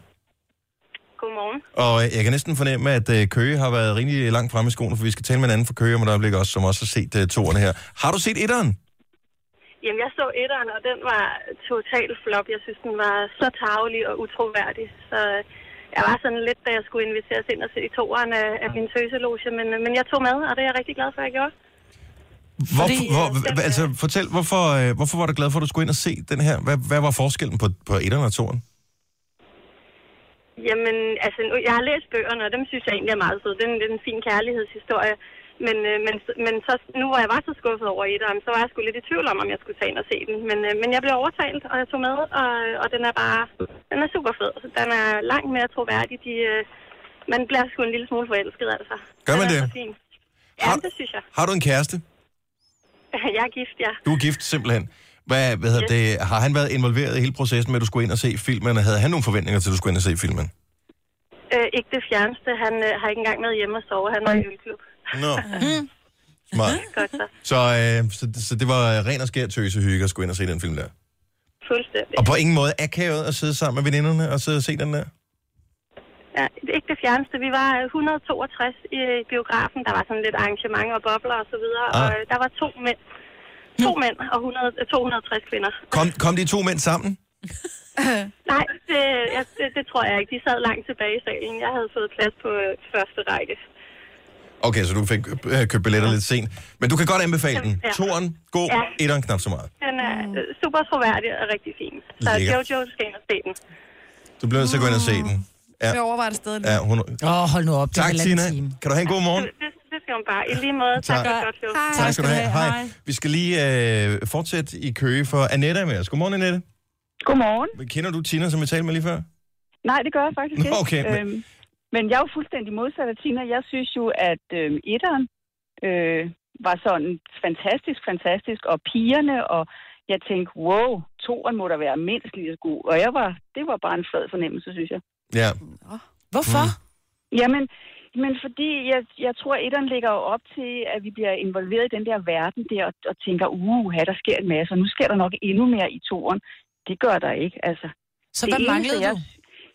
S8: Godmorgen.
S1: Og øh, jeg kan næsten fornemme, at øh, Køge har været rimelig langt fremme i skoene, for vi skal tale med en anden fra Køge om et øjeblik også, som også har set øh, toerne her. Har du set etteren?
S8: Jamen, jeg så etteren, og den var total flop. Jeg synes, den var så tavlig og utroværdig. Så øh, jeg var sådan lidt, da jeg skulle inviteres ind og se toeren af, af min tøseloge. Men, øh, men jeg tog med, og det er jeg rigtig glad for, at jeg gjorde.
S1: Hvor, Fordi, hvor, hva- altså, fortæl, hvorfor, øh, hvorfor var du glad for, at du skulle ind og se den her? Hvad, hvad var forskellen på, på etteren og toeren?
S8: Jamen, altså, nu, jeg har læst bøgerne, og dem synes jeg egentlig er meget søde. Det er en, det er en fin kærlighedshistorie. Men, øh, men, men så, nu hvor jeg var så skuffet over etteren, så var jeg sgu lidt i tvivl om, om jeg skulle tage ind og se den. Men, øh, men jeg blev overtalt, og jeg tog med, og, og den er bare den er super fed. Den er langt mere troværdig. De, øh, man bliver sgu en lille smule forelsket, altså.
S1: Gør man
S8: Den er
S1: det?
S8: så fin. Ja,
S1: Har-
S8: det synes jeg.
S1: Har du en kæreste?
S8: Jeg er gift, ja.
S1: Du er gift simpelthen. Hvad, hvad hedder det? Har han været involveret i hele processen med, at du skulle ind og se filmen, og havde han nogle forventninger til, at du skulle ind og se filmen?
S8: Øh, ikke det fjerneste. Han øh, har ikke engang med hjemme at sove. Han er i ølklub.
S1: Nå. Smart.
S8: Godt så.
S1: Mm. Så, øh, så, så det var ren og skær tøsehygge at skulle ind og se den film der.
S8: Fuldstændig.
S1: Og på ingen måde akavet at sidde sammen med veninderne og sidde og se den der.
S8: Ja, det er ikke det fjerneste. Vi var øh, 162 i øh, biografen. Der var sådan lidt arrangement og bobler og så videre.
S1: Ah.
S8: Ah. Og øh, der var to mænd. To mænd og 100, øh, 260 kvinder.
S1: Kom, kom de to mænd sammen?
S8: Nej, det, jeg, det, det tror jeg ikke. De sad langt tilbage i salen. Jeg havde fået plads på øh, første række.
S1: Okay, så du fik øh, købt billetter lidt sent. Men du kan godt anbefale den.
S8: Ja.
S1: Toren, god.
S8: Ja.
S1: Etteren, knap så meget.
S8: Den er
S1: Mm.
S8: øh, super troværdig og rigtig fin. Så
S1: Lækker.
S8: Jojo skal ind og se den.
S1: Du bliver nødt til at gå ind og se den. Ja,
S3: Jeg overvejer det stadig.
S1: ja hun...
S2: Åh, oh, hold nu op, det
S1: Tak,
S2: er en
S1: Tina.
S2: time.
S1: Kan du have en god morgen?
S8: Det, det skal hun bare. I lige måde. Tak,
S1: Tak.
S8: for et godt show.
S1: Tak skal du have. Hej. Vi skal lige øh, fortsætte i køge for Annette er med os. Godmorgen, Annette.
S12: Godmorgen.
S1: Kender du Tina, som vi talte med lige før?
S12: Nej, det gør jeg faktisk
S1: Nå,
S12: ikke.
S1: okay, men-
S12: Øhm, men jeg er jo fuldstændig modsat af Tina. Jeg synes jo, at øhm, etteren øh, var sådan fantastisk, fantastisk. Og pigerne, og jeg tænkte, wow, toeren må da være mindst lige så god. Og jeg var, det var bare en flad fornemmelse, synes jeg.
S1: Ja.
S2: Hvorfor? Mm.
S12: Jamen, men fordi jeg, jeg tror, at etteren ligger jo op til, at vi bliver involveret i den der verden der, og, og tænker, uha, der sker en masse, og nu sker der nok endnu mere i toren. Det gør der ikke, altså.
S2: Så hvad
S12: eneste,
S2: manglede
S12: jeg,
S2: du?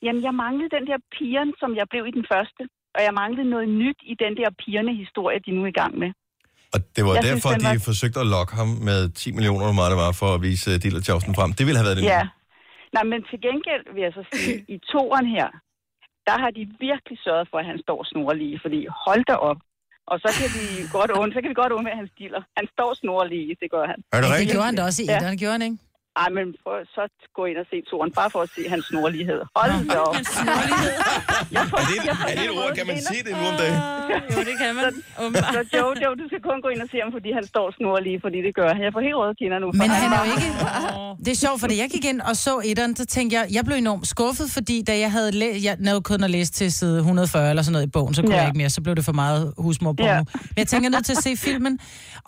S12: Jamen, jeg manglede den der pigerne, som jeg blev i den første. Og jeg manglede noget nyt i den der pigerne historie, de nu er i gang med.
S1: Mm. Det var
S12: Jeg
S1: jeg
S12: synes,
S1: derfor,
S12: den
S1: synes, de
S12: var-
S1: var... forsøgte at lokke ham med 10 millioner, hvor meget det var, for at vise uh, Diller Tjavsen frem. Det ville have været det
S12: Ja. Nej, men til gengæld vil jeg så sige, i toren her, der har de virkelig sørget for, at han står snorlige, fordi hold da op. Og så kan vi godt und, så kan vi godt undvære hans diller. Han står snorlige, det gør han.
S1: Er
S2: det rigtigt? gjorde han da også i etteren, gjorde han ikke?
S12: Ej, men prøv så at gå ind og se toren, bare for at se hans snorlighed. Hold da op.
S1: Er det, er det et ord? Kan man sige det nu om dagen?
S4: Jo, det kan man.
S12: Så Jojo, du skal kun gå ind og se ham, fordi han står snorlige, fordi det gør han. Jeg får helt røde kinder nu.
S2: Men han er jo ikke... Det er sjovt, fordi jeg gik ind og så etteren, så tænkte jeg, jeg blev enormt skuffet, fordi da jeg havde læ- jeg nåede kun at læse til side 140 eller sådan noget i bogen, så kunne
S12: Ja.
S2: ja. jeg ikke mere, så blev det for meget husmorporno.
S12: Ja.
S2: Ja. Men jeg tænker, jeg er nødt til at se filmen,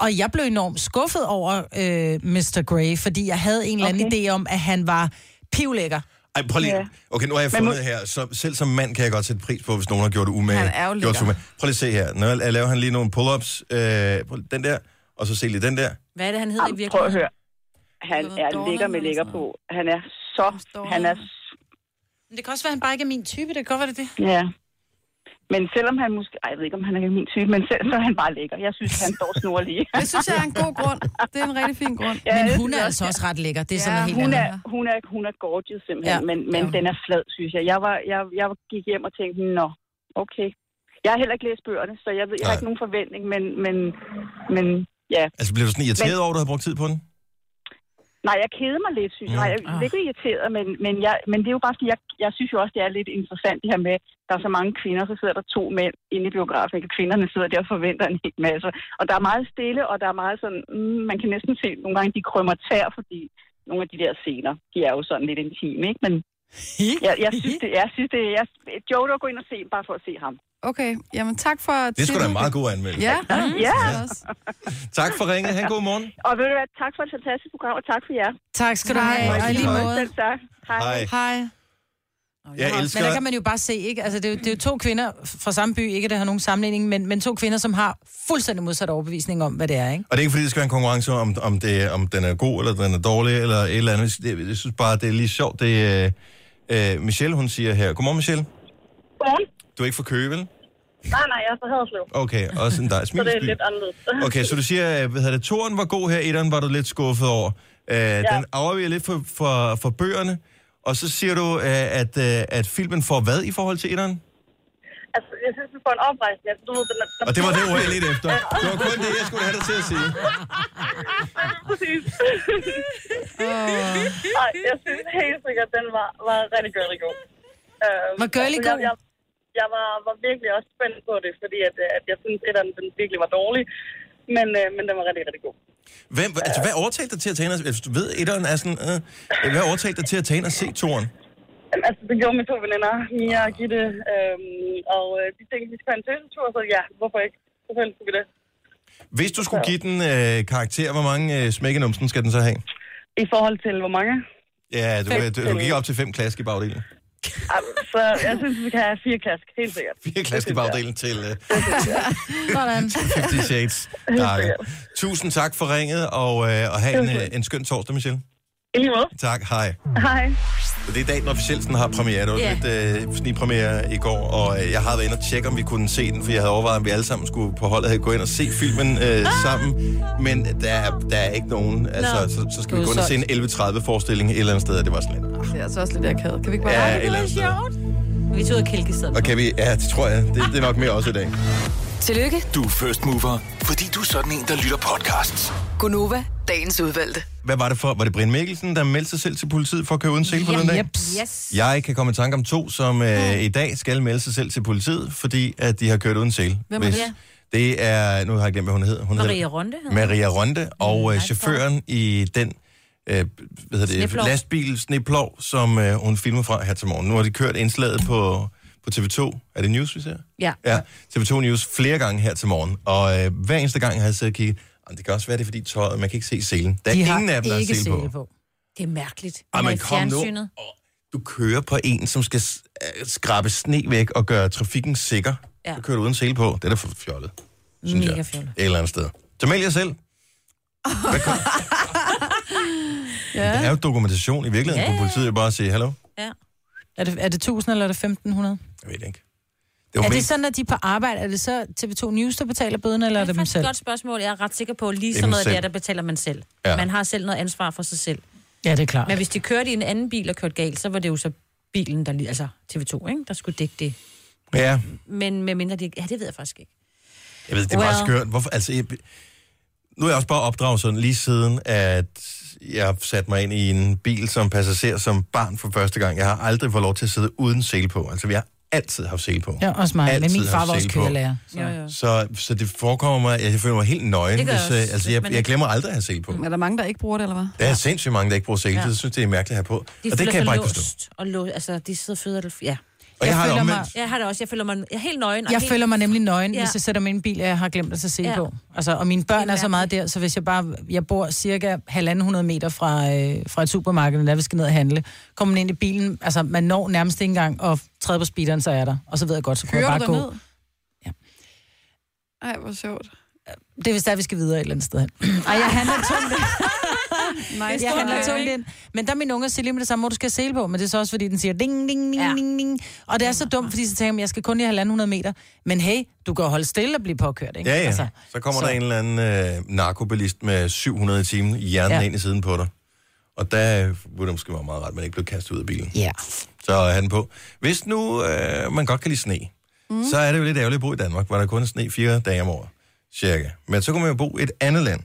S2: og jeg blev enormt skuffet over øh, Mr. Grey, fordi jeg havde en eller anden okay. idé om, at han var pivlækker.
S1: Ej, prøv lige.
S2: Ja.
S1: Okay, nu har jeg
S2: Men må-
S1: fundet her. Så selv som mand kan jeg godt sætte pris på, hvis nogen har gjort det umage.
S2: Han er jo
S1: Gjort
S2: lækker.
S1: sig umage. Prøv lige at se her. Nu la- laver han lige nogle pull-ups. Øh, prøv lige- den der, og så se lige den der.
S4: Hvad er det, han hedder i
S12: Prøv
S4: virkeligheden?
S12: at høre. Han er lækker med lækker på. Han er så... Han er
S2: Men det kan også være, at han bare ikke er min type, det kan godt være det er det.
S12: Ja. Men selvom han måske... Ej, jeg ved ikke, om han er min type, men selv, så er han bare lækker. Jeg synes, han står snorlig.
S3: Det synes jeg er en god grund. Det er en rigtig fin grund.
S12: Ja, det
S2: Men hun
S12: synes
S2: er
S12: jeg
S2: altså
S12: også,
S2: også ret lækker, det er
S12: Ja,
S2: sådan noget helt
S12: hun
S2: andet.
S12: er, hun, er, hun er gorgeous simpelthen, ja.
S2: Ja.
S12: men, men ja. den er flad, synes jeg. Jeg, var, jeg, jeg gik hjem og tænkte, nå, okay. Jeg har heller ikke læst bøgerne, så jeg, ved, jeg har
S1: Nej.
S12: ikke nogen forventning, men, men, men ja.
S1: Altså, bliver du sådan irriteret
S12: Men-
S1: over, at du har brugt tid på den?
S12: Nej, jeg keder mig lidt, synes jeg. Nej, jeg er ikke irriteret, men, men, jeg, men det er jo bare, fordi jeg, jeg synes jo også, det er lidt interessant det her med, der er så mange kvinder, så sidder der to mænd inde i biografen, ikke? kvinderne sidder der og forventer en hel masse. Og der er meget stille, og der er meget sådan, mm, man kan næsten se nogle gange, de krømmer tær, fordi nogle af de der scener, de er jo sådan lidt intime, ikke? Men jeg, jeg synes, det, jeg synes, det jeg, Jodo, gå ind og se ham, bare for at se ham.
S3: Okay, jamen tak for...
S1: Det er sgu da en meget god anmeldelse.
S3: Ja, altså
S12: Ja.
S1: Tak for ringet. Han god morgen.
S12: Og ved du hvad, tak for et fantastisk program, og tak for jer.
S2: Tak skal du have, og i lige måde.
S12: Selv tak.
S1: Hej.
S2: Hej.
S1: Jeg elsker...
S2: Men der kan man jo bare se, ikke? Altså, det, er jo, det er jo to kvinder fra samme by, ikke at der har nogen sammenligning, men, men to kvinder, som har fuldstændig modsat overbevisning om, hvad det er, ikke?
S1: Og det er ikke, fordi det skal være en konkurrence om, om, det, om den er god, eller den er dårlig, eller et eller andet. Det, jeg synes bare, det er lige sjovt, det øh, øh, Michelle, hun siger her. Godmorgen, Michelle.
S13: Godmorgen.
S1: Du er ikke fra Køge, vel?
S13: Nej, nej, jeg er fra Haderslev.
S1: Okay, også en dig.
S13: Så det er lidt anderledes.
S1: Okay, så du siger, øh, hvad hedder det, toren var god her, etteren var du lidt skuffet over. Øh, ja. Den afviger lidt for, for, for bøgerne. Og så siger du, øh, at, øh, at filmen får hvad i forhold til etteren?
S13: Altså, jeg synes, vi får en oprejsning. Altså, du ved, den er...
S1: Og det var det ord, jeg ledte efter. Det var kun det, jeg skulle have dig til at sige.
S13: Præcis. Nej, jeg synes helt sikkert, den var, var rigtig girly god. Øhm,
S2: Var girly
S13: altså,
S2: god?
S13: Jeg, jeg, jeg var, var virkelig også spændt på det, fordi at, øh, at jeg synes, at den, den virkelig var dårlig. Men, øh, men den var rigtig, rigtig god.
S1: Hvem, altså, hvad overtalte dig til at tage ind og... Hvis du ved, etteren er sådan... Øh, hvad overtalte dig til at tage ind og se toren?
S13: Jamen, altså, det gjorde mine to veninder, Mia og Gitte. Øhm, og øh, de tænkte, at vi skulle have en tøsetur, så ja, hvorfor ikke? Selvfølgelig skulle vi det.
S1: Hvis du skulle give den øh, karakter, hvor mange øh, smækkenumsen skal den så have?
S13: I forhold til, hvor mange?
S1: Ja, du,
S13: Fem.
S1: øh, du, du gik op til fem klask i bagdelen.
S13: Ej, Så jeg synes, vi kan have fire klask, helt sikkert.
S1: Fire klask i bagdelen til øh,
S2: Sådan.
S1: 50 Shades. Dark. Tusind tak for ringet, og, øh, og have en, øh, en skøn torsdag, Michelle.
S13: I lige måde.
S1: Tak, hej.
S13: Hej.
S1: Så det er i dag, den officielt sådan har premiere. Det var
S13: Ja.
S1: yeah. lidt øh, snigpremiere i går, og øh, jeg har været inde og tjekke, om vi kunne se den, for jeg havde overvejet, om vi alle sammen skulle på holdet gå ind og se filmen øh, sammen. Men der, er- der er ikke nogen. Altså,
S3: Nå.
S1: så, så skal
S3: Du
S1: vi
S3: er
S1: gå ind og se en
S3: solgt.
S1: 11.30-forestilling et eller andet sted, og det var sådan lidt.
S3: Det er altså også lidt akavet. Kan vi ikke bare...
S1: Ja,
S3: Ej,
S1: et eller andet sted.
S4: Vi tog ud af kælkestedet.
S1: Og kan vi... Ja, det tror jeg. Det, det er nok mere også i dag.
S6: Tillykke,
S7: Du er first mover, fordi du er sådan en, der lytter podcasts.
S6: Gunova, dagens udvalgte.
S1: Hvad var det for? Var det Brian Mikkelsen, der meldte sig selv til politiet for at køre uden sele
S6: Ja,
S1: forleden dag?
S6: jeps. Yes.
S1: Jeg kan komme i tanke om to, som øh, i dag skal melde sig selv til politiet, fordi at de har kørt uden sele.
S4: Hvem er
S1: Hvis-
S4: det?
S1: Det er... Nu har jeg glemt, hvad hun hedder. Hun
S4: Maria
S1: hedder,
S4: Ronde hedder
S1: Maria Ronde, og øh, chaufføren i den øh, hvad hedder det,
S4: Sneplov.
S1: lastbil, sneplov, som øh, hun filmer fra her til morgen. Nu har de kørt indslaget på, på TV2. Er det News, vi ser?
S4: Ja.
S1: Ja, TV2 News flere gange her til morgen. Og øh, hver eneste gang har jeg siddet og kigget, "Jamen, det kan også være, det er fordi tøjet, man kan ikke se selen. Der er
S4: De
S1: de
S4: har
S1: ingen af dem, der har
S4: ikke
S1: sele på.
S4: Det er mærkeligt.
S1: Ej,
S4: Den er
S1: men
S4: i
S1: kom nu.
S4: fjernsynet.
S1: du kører på en, som skal s- øh, skrabe sne væk og gøre trafikken sikker.
S4: Ja.
S1: Ja. Du kører du uden sele på. Det er da for fjollet. Synes
S4: Mega
S1: jeg.
S4: fjollet.
S1: Et eller andet sted. Så meld jer selv. Ja. Der er jo dokumentation i virkeligheden.
S2: Ja,
S1: Ja. Kunne politiet jo bare sige, hallo?
S4: Ja.
S2: Er det, er det 1000 eller er det 1500?
S1: Jeg ved det ikke. Det
S2: Det er
S1: var
S2: det sådan, at de er på arbejde, er det så TV2 News, der betaler bøden, eller er det dem
S4: faktisk et
S2: selv?
S4: godt spørgsmål. Jeg er ret sikker på, at lige
S2: Det er
S4: sådan
S2: dem
S4: noget der,
S2: selv.
S4: der betaler man selv.
S2: Ja.
S4: Ja. Man har selv noget ansvar for sig selv.
S2: Ja, det er klart.
S4: Men hvis de kørte i en anden bil og kørte galt, så var det jo så bilen, der lige, altså TV2, ikke? der skulle dække det.
S1: Ja,
S4: Men med mindre de... Ja, det ved jeg faktisk ikke.
S1: jeg ved, det er well.
S4: Well.
S1: bare skørt. Hvorfor, altså, jeg, nu er jeg også bare opdraget sådan lige siden, at jeg satte mig ind i en bil som passager som barn for første gang. Jeg har aldrig fået lov til at sidde uden sele på. Altså, vi har altid haft sele på.
S2: Ja, også mig. Men
S1: Altid
S2: min far
S1: haft
S2: var også
S1: sele på.
S2: kørelærer. Så. Jo, jo.
S1: Så, så det forekommer mig, at jeg føler mig helt nøgen.
S3: Det
S1: Hvis,
S3: gør jeg
S1: jeg,
S3: også,
S1: altså, jeg,
S3: men-
S1: jeg glemmer aldrig at have sele på.
S3: Er der mange, der ikke bruger det, eller hvad?
S1: Der er sindssygt mange, der ikke bruger sele.
S4: Ja.
S1: Ja. Jeg synes, det er mærkeligt at have på.
S4: De
S1: og det kan jeg bare ikke forstå.
S4: låst og lå, altså, de sidder fødder... Ja.
S1: Og jeg, jeg har det
S2: føler mig-
S1: omvendt.
S4: Jeg har det også. Jeg føler mig jeg er helt nøgen. og
S2: Jeg
S4: helt...
S2: føler mig nemlig nøgen,
S4: Ja.
S2: ja. hvis jeg sætter mig i en bil, og jeg har glemt at tage sele
S4: Ja.
S2: ja. på. Altså, og mine børn er så meget der, så hvis jeg bare... Jeg bor cirka 1.500 meter fra, øh, fra et supermarked, der vi skal ned og handle. Kommer man ind i bilen, altså man når nærmest ikke engang og træde på speederen, så er jeg der. Og så ved jeg godt, så kunne
S5: Kører
S2: jeg
S5: du
S2: bare gå.
S5: derned? Ja. Ej, hvor sjovt.
S2: Det er vist der, vi skal videre et eller andet sted hen. Ej, jeg handler tungt ind.
S5: Nej,
S2: Nej,
S5: det
S2: jeg
S5: tror
S2: handler
S5: jeg
S2: tungt
S5: ikke.
S2: ind. Men der er min unge siger lige med det samme, hvor du skal have sele på, men det er så også, fordi den siger ding, ding, ding, ja. ding, ding. Og det er så dumt, fordi så tænker jeg, jeg skal kun lige 1.500 meter. Men hey, du kan jo holde stille og blive påkørt, ikke?
S1: Ja, ja. Altså, så kommer så. der en eller anden øh, narkobilist med 700 i timen, hjernen
S2: Ja.
S1: ja. ind i siden på dig. Og der øh, ville det måske være meget rart, at man ikke blev kastet ud af bilen.
S2: Ja.
S1: Så er han på. Hvis nu øh, man godt kan lide sne, mm. så er det jo lidt ærgerligt at bo i Danmark, hvor der kun er sne fire dage om året, cirka. Men så kunne man jo bo i et andet land.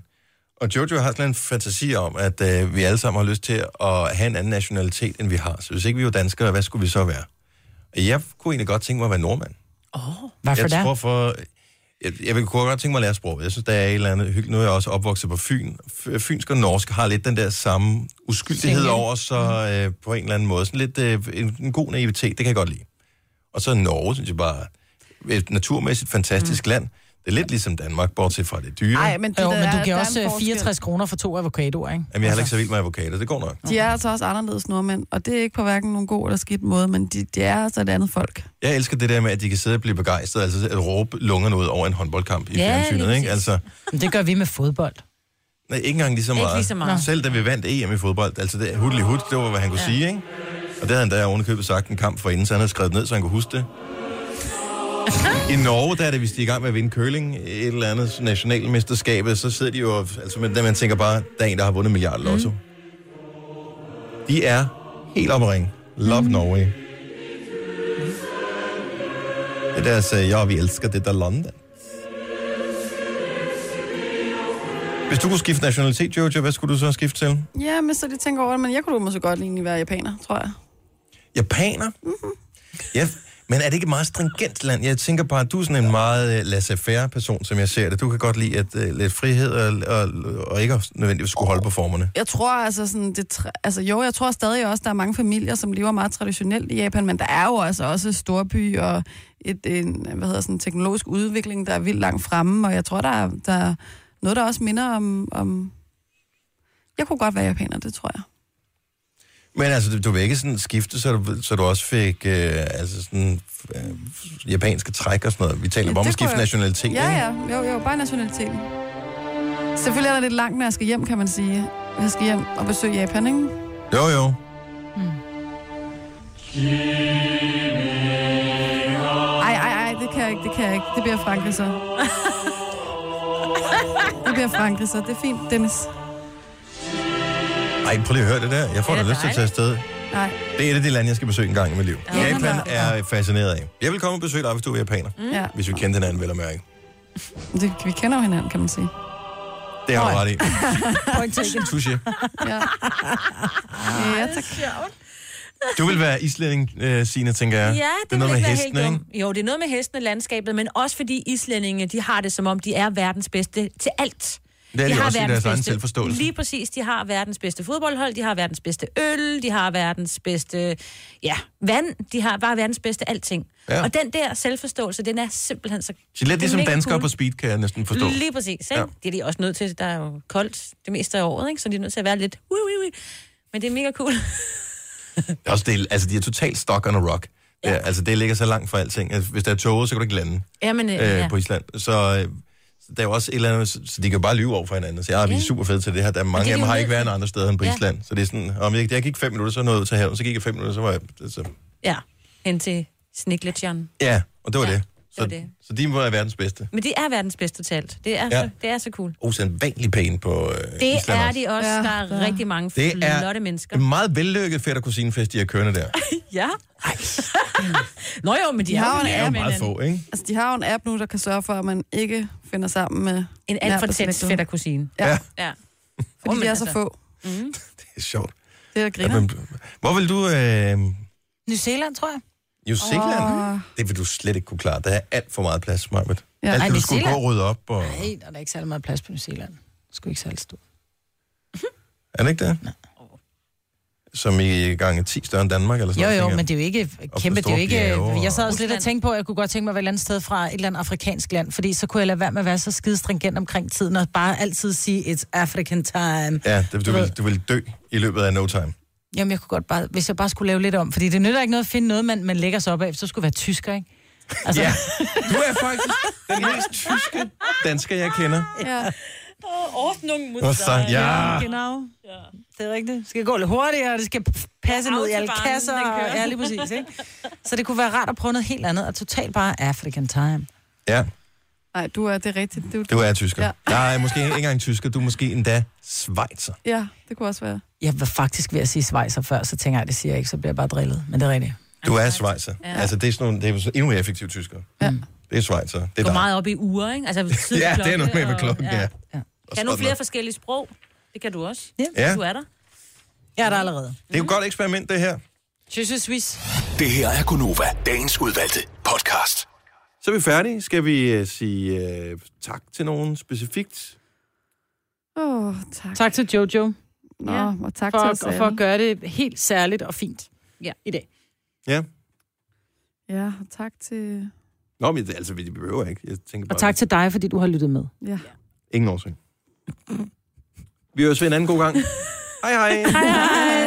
S1: Og Jojo har sådan en fantasi om, at øh, vi alle sammen har lyst til at have en anden nationalitet, end vi har. Så hvis ikke vi var danskere, hvad skulle vi så være? Jeg kunne egentlig godt tænke mig at være nordmand.
S2: Hvorfor
S1: jeg
S2: da?
S1: Tror for, jeg, jeg vil kunne godt tænke mig at lære sproget. Jeg synes, der er et eller andet hyggeligt. Nu er jeg også opvokset på Fyn. F- Fynsk og norsk har lidt den der samme uskyldighed
S7: Single.
S1: over sig
S2: Mm-hmm.
S1: øh, på en eller anden måde. Sådan lidt øh, en, en god naivitet, det kan jeg godt lide. Og så er Norge, synes jeg bare, et naturmæssigt fantastisk mm. land. Det er lidt ligesom Danmark, bortset fra det dyre.
S5: Ej, men det der-
S2: jo, men
S5: der
S2: du
S5: er
S2: giver
S5: en
S2: også øh,
S5: forskel.
S2: 64 kroner for to avocadoer, ikke?
S1: Jamen, jeg er heller ikke så vild med avocados. Det går nok.
S5: De er altså også anderledes nordmænd, og det er ikke på hverken nogen god eller skidt måde, men de, de er altså et andet folk.
S1: Jeg elsker det der med, at de kan sidde og blive begejstrede, altså at råbe lungerne ud over en håndboldkamp i
S2: Ja, lige
S1: fjernsynet,
S2: præcis.
S1: ikke? Altså,
S2: Men det gør vi med fodbold.
S1: nej, ikke engang lige så
S2: Ikke
S1: meget.
S2: lige så meget.
S1: Selv da vi vandt EM i fodbold, altså det hudlig hud, det var, hvad han kunne ja. sige, ikke? Og det havde han da ovenikøbet sagt en kamp for inden, så han havde skrevet ned, så han kunne huske det. I Norge, der er det, hvis de er i gang med at vinde curling, et eller andet nationalmesterskab, så sidder de jo, altså men man tænker bare, der er en, der har vundet milliard
S2: Mhm.
S1: lotto. Mm. De er helt oppe at ringe. Love
S2: Mhm.
S1: mm. Norway. Det er deres, øh, ja, vi elsker det der land. Hvis du kunne skifte nationalitet, Jojo, hvad skulle du så skifte til?
S5: Ja, men så de tænker over det, men jeg kunne måske godt egentlig være japaner, tror jeg.
S1: Japaner? Mm-hmm. Ja, men er det ikke et meget stringent land? Jeg tænker bare, at du er sådan en meget uh, laissez-faire person, som jeg ser det. Du kan godt lide at uh, lidt frihed og, og, og ikke også nødvendigvis skulle holde på formerne.
S5: Jeg tror altså sådan, det, tr- altså jo, jeg tror stadig også, der er mange familier, som lever meget traditionelt i Japan, men der er jo altså også storby og et, en, hvad hedder sådan, teknologisk udvikling, der er vildt langt fremme, og jeg tror, der er, der er noget, der også minder om, om... Jeg kunne godt være japaner, det tror jeg.
S1: Men altså, du- du vil ikke sådan skifte, så du, så du også fik uh, altså sådan, uh, japanske træk og sådan noget. Vi taler
S5: Ja,
S1: bare om
S5: det
S1: at skifte
S5: kunne jeg-
S1: nationalitet,
S5: Ja,
S1: ikke?
S5: ja. Jo, jo, bare nationaliteten. Selvfølgelig er der lidt langt, når jeg skal hjem, kan man sige. Jeg skal hjem og besøge Japan, ikke?
S1: Jo, jo.
S5: Ej, ej, ej, det kan jeg ikke, det kan jeg ikke. Det bliver Frankrig så. Det bliver Frankrig så. Det er fint, Dennis.
S1: Ej, prøv lige at høre det der. Jeg får
S5: Det
S1: da
S5: er
S1: lyst til at tage afsted.
S5: Nej.
S1: Det er et af de lande, jeg skal besøge en gang i mit liv.
S5: Ja.
S1: Japan er jeg fascineret af. Jeg vil komme og besøge dig, hvis du er japaner.
S5: Mm. Ja.
S1: Hvis vi kendte hinanden, vel og mærke.
S5: Det, vi kender jo hinanden, kan man sige.
S1: Det har du ret i.
S2: Point taken.
S1: Touché.
S5: Ja. Ja, tak.
S1: Du vil være islænding, øh, Signe, tænker jeg.
S4: Ja, det,
S1: er
S4: det
S1: noget med
S4: ikke være
S1: hestene,
S4: helt
S1: ikke?
S4: dumt. Jo, det er noget med hestene, landskabet, men også fordi islændinge, de har det som om, de er verdens bedste til alt.
S1: Det er de
S4: har
S1: også i
S4: verdens
S1: deres egen
S4: bedste-
S1: selvforståelse.
S4: Lige præcis, de har verdens bedste fodboldhold, de har verdens bedste øl, de har verdens bedste ja, vand, de har bare verdens bedste alting.
S1: Ja.
S4: Ja. Og den der selvforståelse, den er simpelthen så...
S1: Så lidt
S4: den er
S1: ligesom
S4: mega
S1: danskere
S4: cool.
S1: på speed, kan jeg næsten forstå.
S4: Lige præcis, ikke? Ja.
S1: Ja.
S4: Det er de også nødt til, der er jo koldt det meste af året, ikke? så de er nødt til at være lidt... Ui, ui, ui. Men det er mega cool.
S1: Det er også det, altså, de er totalt stock on a rock. Ja. Ja, altså, det ligger så langt fra alting. Altså, hvis der er toget, så kan du ikke lande
S4: Jamen, øh, ja.
S1: øh, på Island. Så øh, så der er jo også et eller andet, så så de kan jo bare lyve over for hinanden og sige, ah, vi er super fede til det her. Der er mange
S4: det er
S1: af dem,
S4: de
S1: har
S4: jo
S1: ikke været
S4: nødt til.
S1: andre steder end på
S4: Ja.
S1: Island. Så det er sådan, om jeg, jeg gik fem minutter, så nåede jeg ud til havet, så gik jeg fem minutter, så var jeg... Så,
S4: Ja, hen til Sniglitjan.
S1: ja, og det var ja, det.
S4: Så, det var det.
S1: Så de må være verdens bedste.
S4: Men de er verdens bedste talt. Det er, ja.
S1: Ja.
S4: så, det er så cool.
S1: Usædvanligt pæne på øh,
S4: Det
S1: Island
S4: er
S1: også.
S4: de også. Ja, der er ja. rigtig mange
S1: Det er
S4: flotte mennesker.
S1: En meget vellykket fætter kusinefest, de har kørende der.
S4: Ja. Nå jo, men de,
S1: har
S4: har
S1: jo
S4: jo
S1: en app. Meget få, ikke?
S5: Altså, de har jo en app nu, der kan sørge for, at man ikke finder sammen med...
S4: En alt for tæt fætter kusine.
S5: Ja.
S1: Ja.
S5: ja.
S4: Ja.
S5: Fordi
S4: Åh,
S5: oh,
S4: men
S5: de er så
S4: altså.
S5: få.
S4: Mm.
S1: Det er sjovt.
S5: Det er
S1: At
S5: griner.
S1: man, hvor vil du... Øh,
S2: New Zealand, tror jeg.
S1: New Zealand?
S2: Åh.
S1: Det vil du slet ikke kunne klare. Der er alt for meget plads, Marvitt. Ja. Alt
S2: Ej,
S1: det, du
S2: New
S1: skulle gå
S2: Zealand?
S1: og rydde op. Og...
S2: Nej, der er da ikke særlig meget plads på New Zealand. Det skulle ikke særlig stort.
S1: Er det ikke det? Som i gange 10 større end Danmark, eller sådan
S2: Jo,
S1: noget,
S2: jo,
S1: tænker jeg.
S2: men det er jo ikke
S1: for
S2: kæmpe, det er jo
S1: store
S2: ikke...
S1: bjerge
S2: Jeg sad
S1: og-
S2: også lidt og tænkte på, at jeg kunne godt tænke mig at være et eller andet sted fra et eller andet afrikansk land, fordi så kunne jeg lade være med at være så skide stringent omkring tiden, og bare altid sige, it's African time.
S1: Ja, det, du,
S2: ved-
S1: vil, du vil dø i løbet af no time.
S2: Jamen, jeg kunne godt bare... Hvis jeg bare skulle lave lidt om, fordi det nytter ikke noget at finde noget, man, man lægger sig op af, så skulle jeg være tysker, ikke?
S1: Altså... Ja, du er faktisk den mest tyske dansker, jeg kender.
S2: Ja. Ordnung
S1: muss Was sein. sein. Ja.
S2: Genau. Ja. Det er rigtigt. Det skal gå lidt hurtigere, og det skal passe ned i alle
S4: Autobahnen,
S2: kasser.
S4: den
S2: Og,
S4: kører.
S2: ja, lige præcis, ikke? Så det kunne være rart at prøve noget helt andet, og totalt bare African time.
S1: Ja,
S5: Nej, du er, det er rigtigt. Du,
S1: du er tysker. Ja.
S5: Ja.
S1: Nej, måske ikke engang tysker, du er måske endda svejser.
S5: ja, det kunne også være.
S2: Jeg var faktisk ved at sige svejser før, så tænker jeg, det siger jeg ikke, så bliver jeg bare drillet. Men det er rigtigt.
S1: Du er svejser. Ja.
S4: Ja.
S1: Altså, det er sådan nogle, det er sådan endnu mere effektive tyskere. Ja. Det er svejser. Det
S4: Går
S1: er dig.
S4: meget op i uger, ikke? Altså, tid,
S1: Ja, det er
S4: klokke
S1: noget med, med
S4: og-
S1: klokken, ja. ja.
S4: Kan nu
S1: sådan
S4: flere
S1: noget.
S4: forskellige sprog? Det kan du også.
S1: Ja.
S4: Du er der.
S2: Jeg er der allerede.
S1: Det er jo et godt eksperiment, det her.
S2: Je suis suisse.
S7: Det her er Gunova, dagens udvalgte podcast.
S1: Så er vi færdige. Skal vi øh, sige øh, tak til nogen specifikt?
S5: Åh, oh, tak.
S2: Tak til Jojo.
S5: Nå,
S2: Ja.
S5: og tak
S2: for,
S5: til os
S2: og
S5: alle.
S2: for at gøre det helt særligt og fint
S4: ja.
S2: i dag.
S1: Ja.
S5: Ja, og tak til...
S1: Nå, men det- altså, vi behøver ikke. Jeg tænker bare,
S2: Og tak til dig, fordi du har lyttet med.
S5: Ja.
S1: Ingen årsag. Vi høres ved en anden god gang. hej hej.
S2: Hej hej.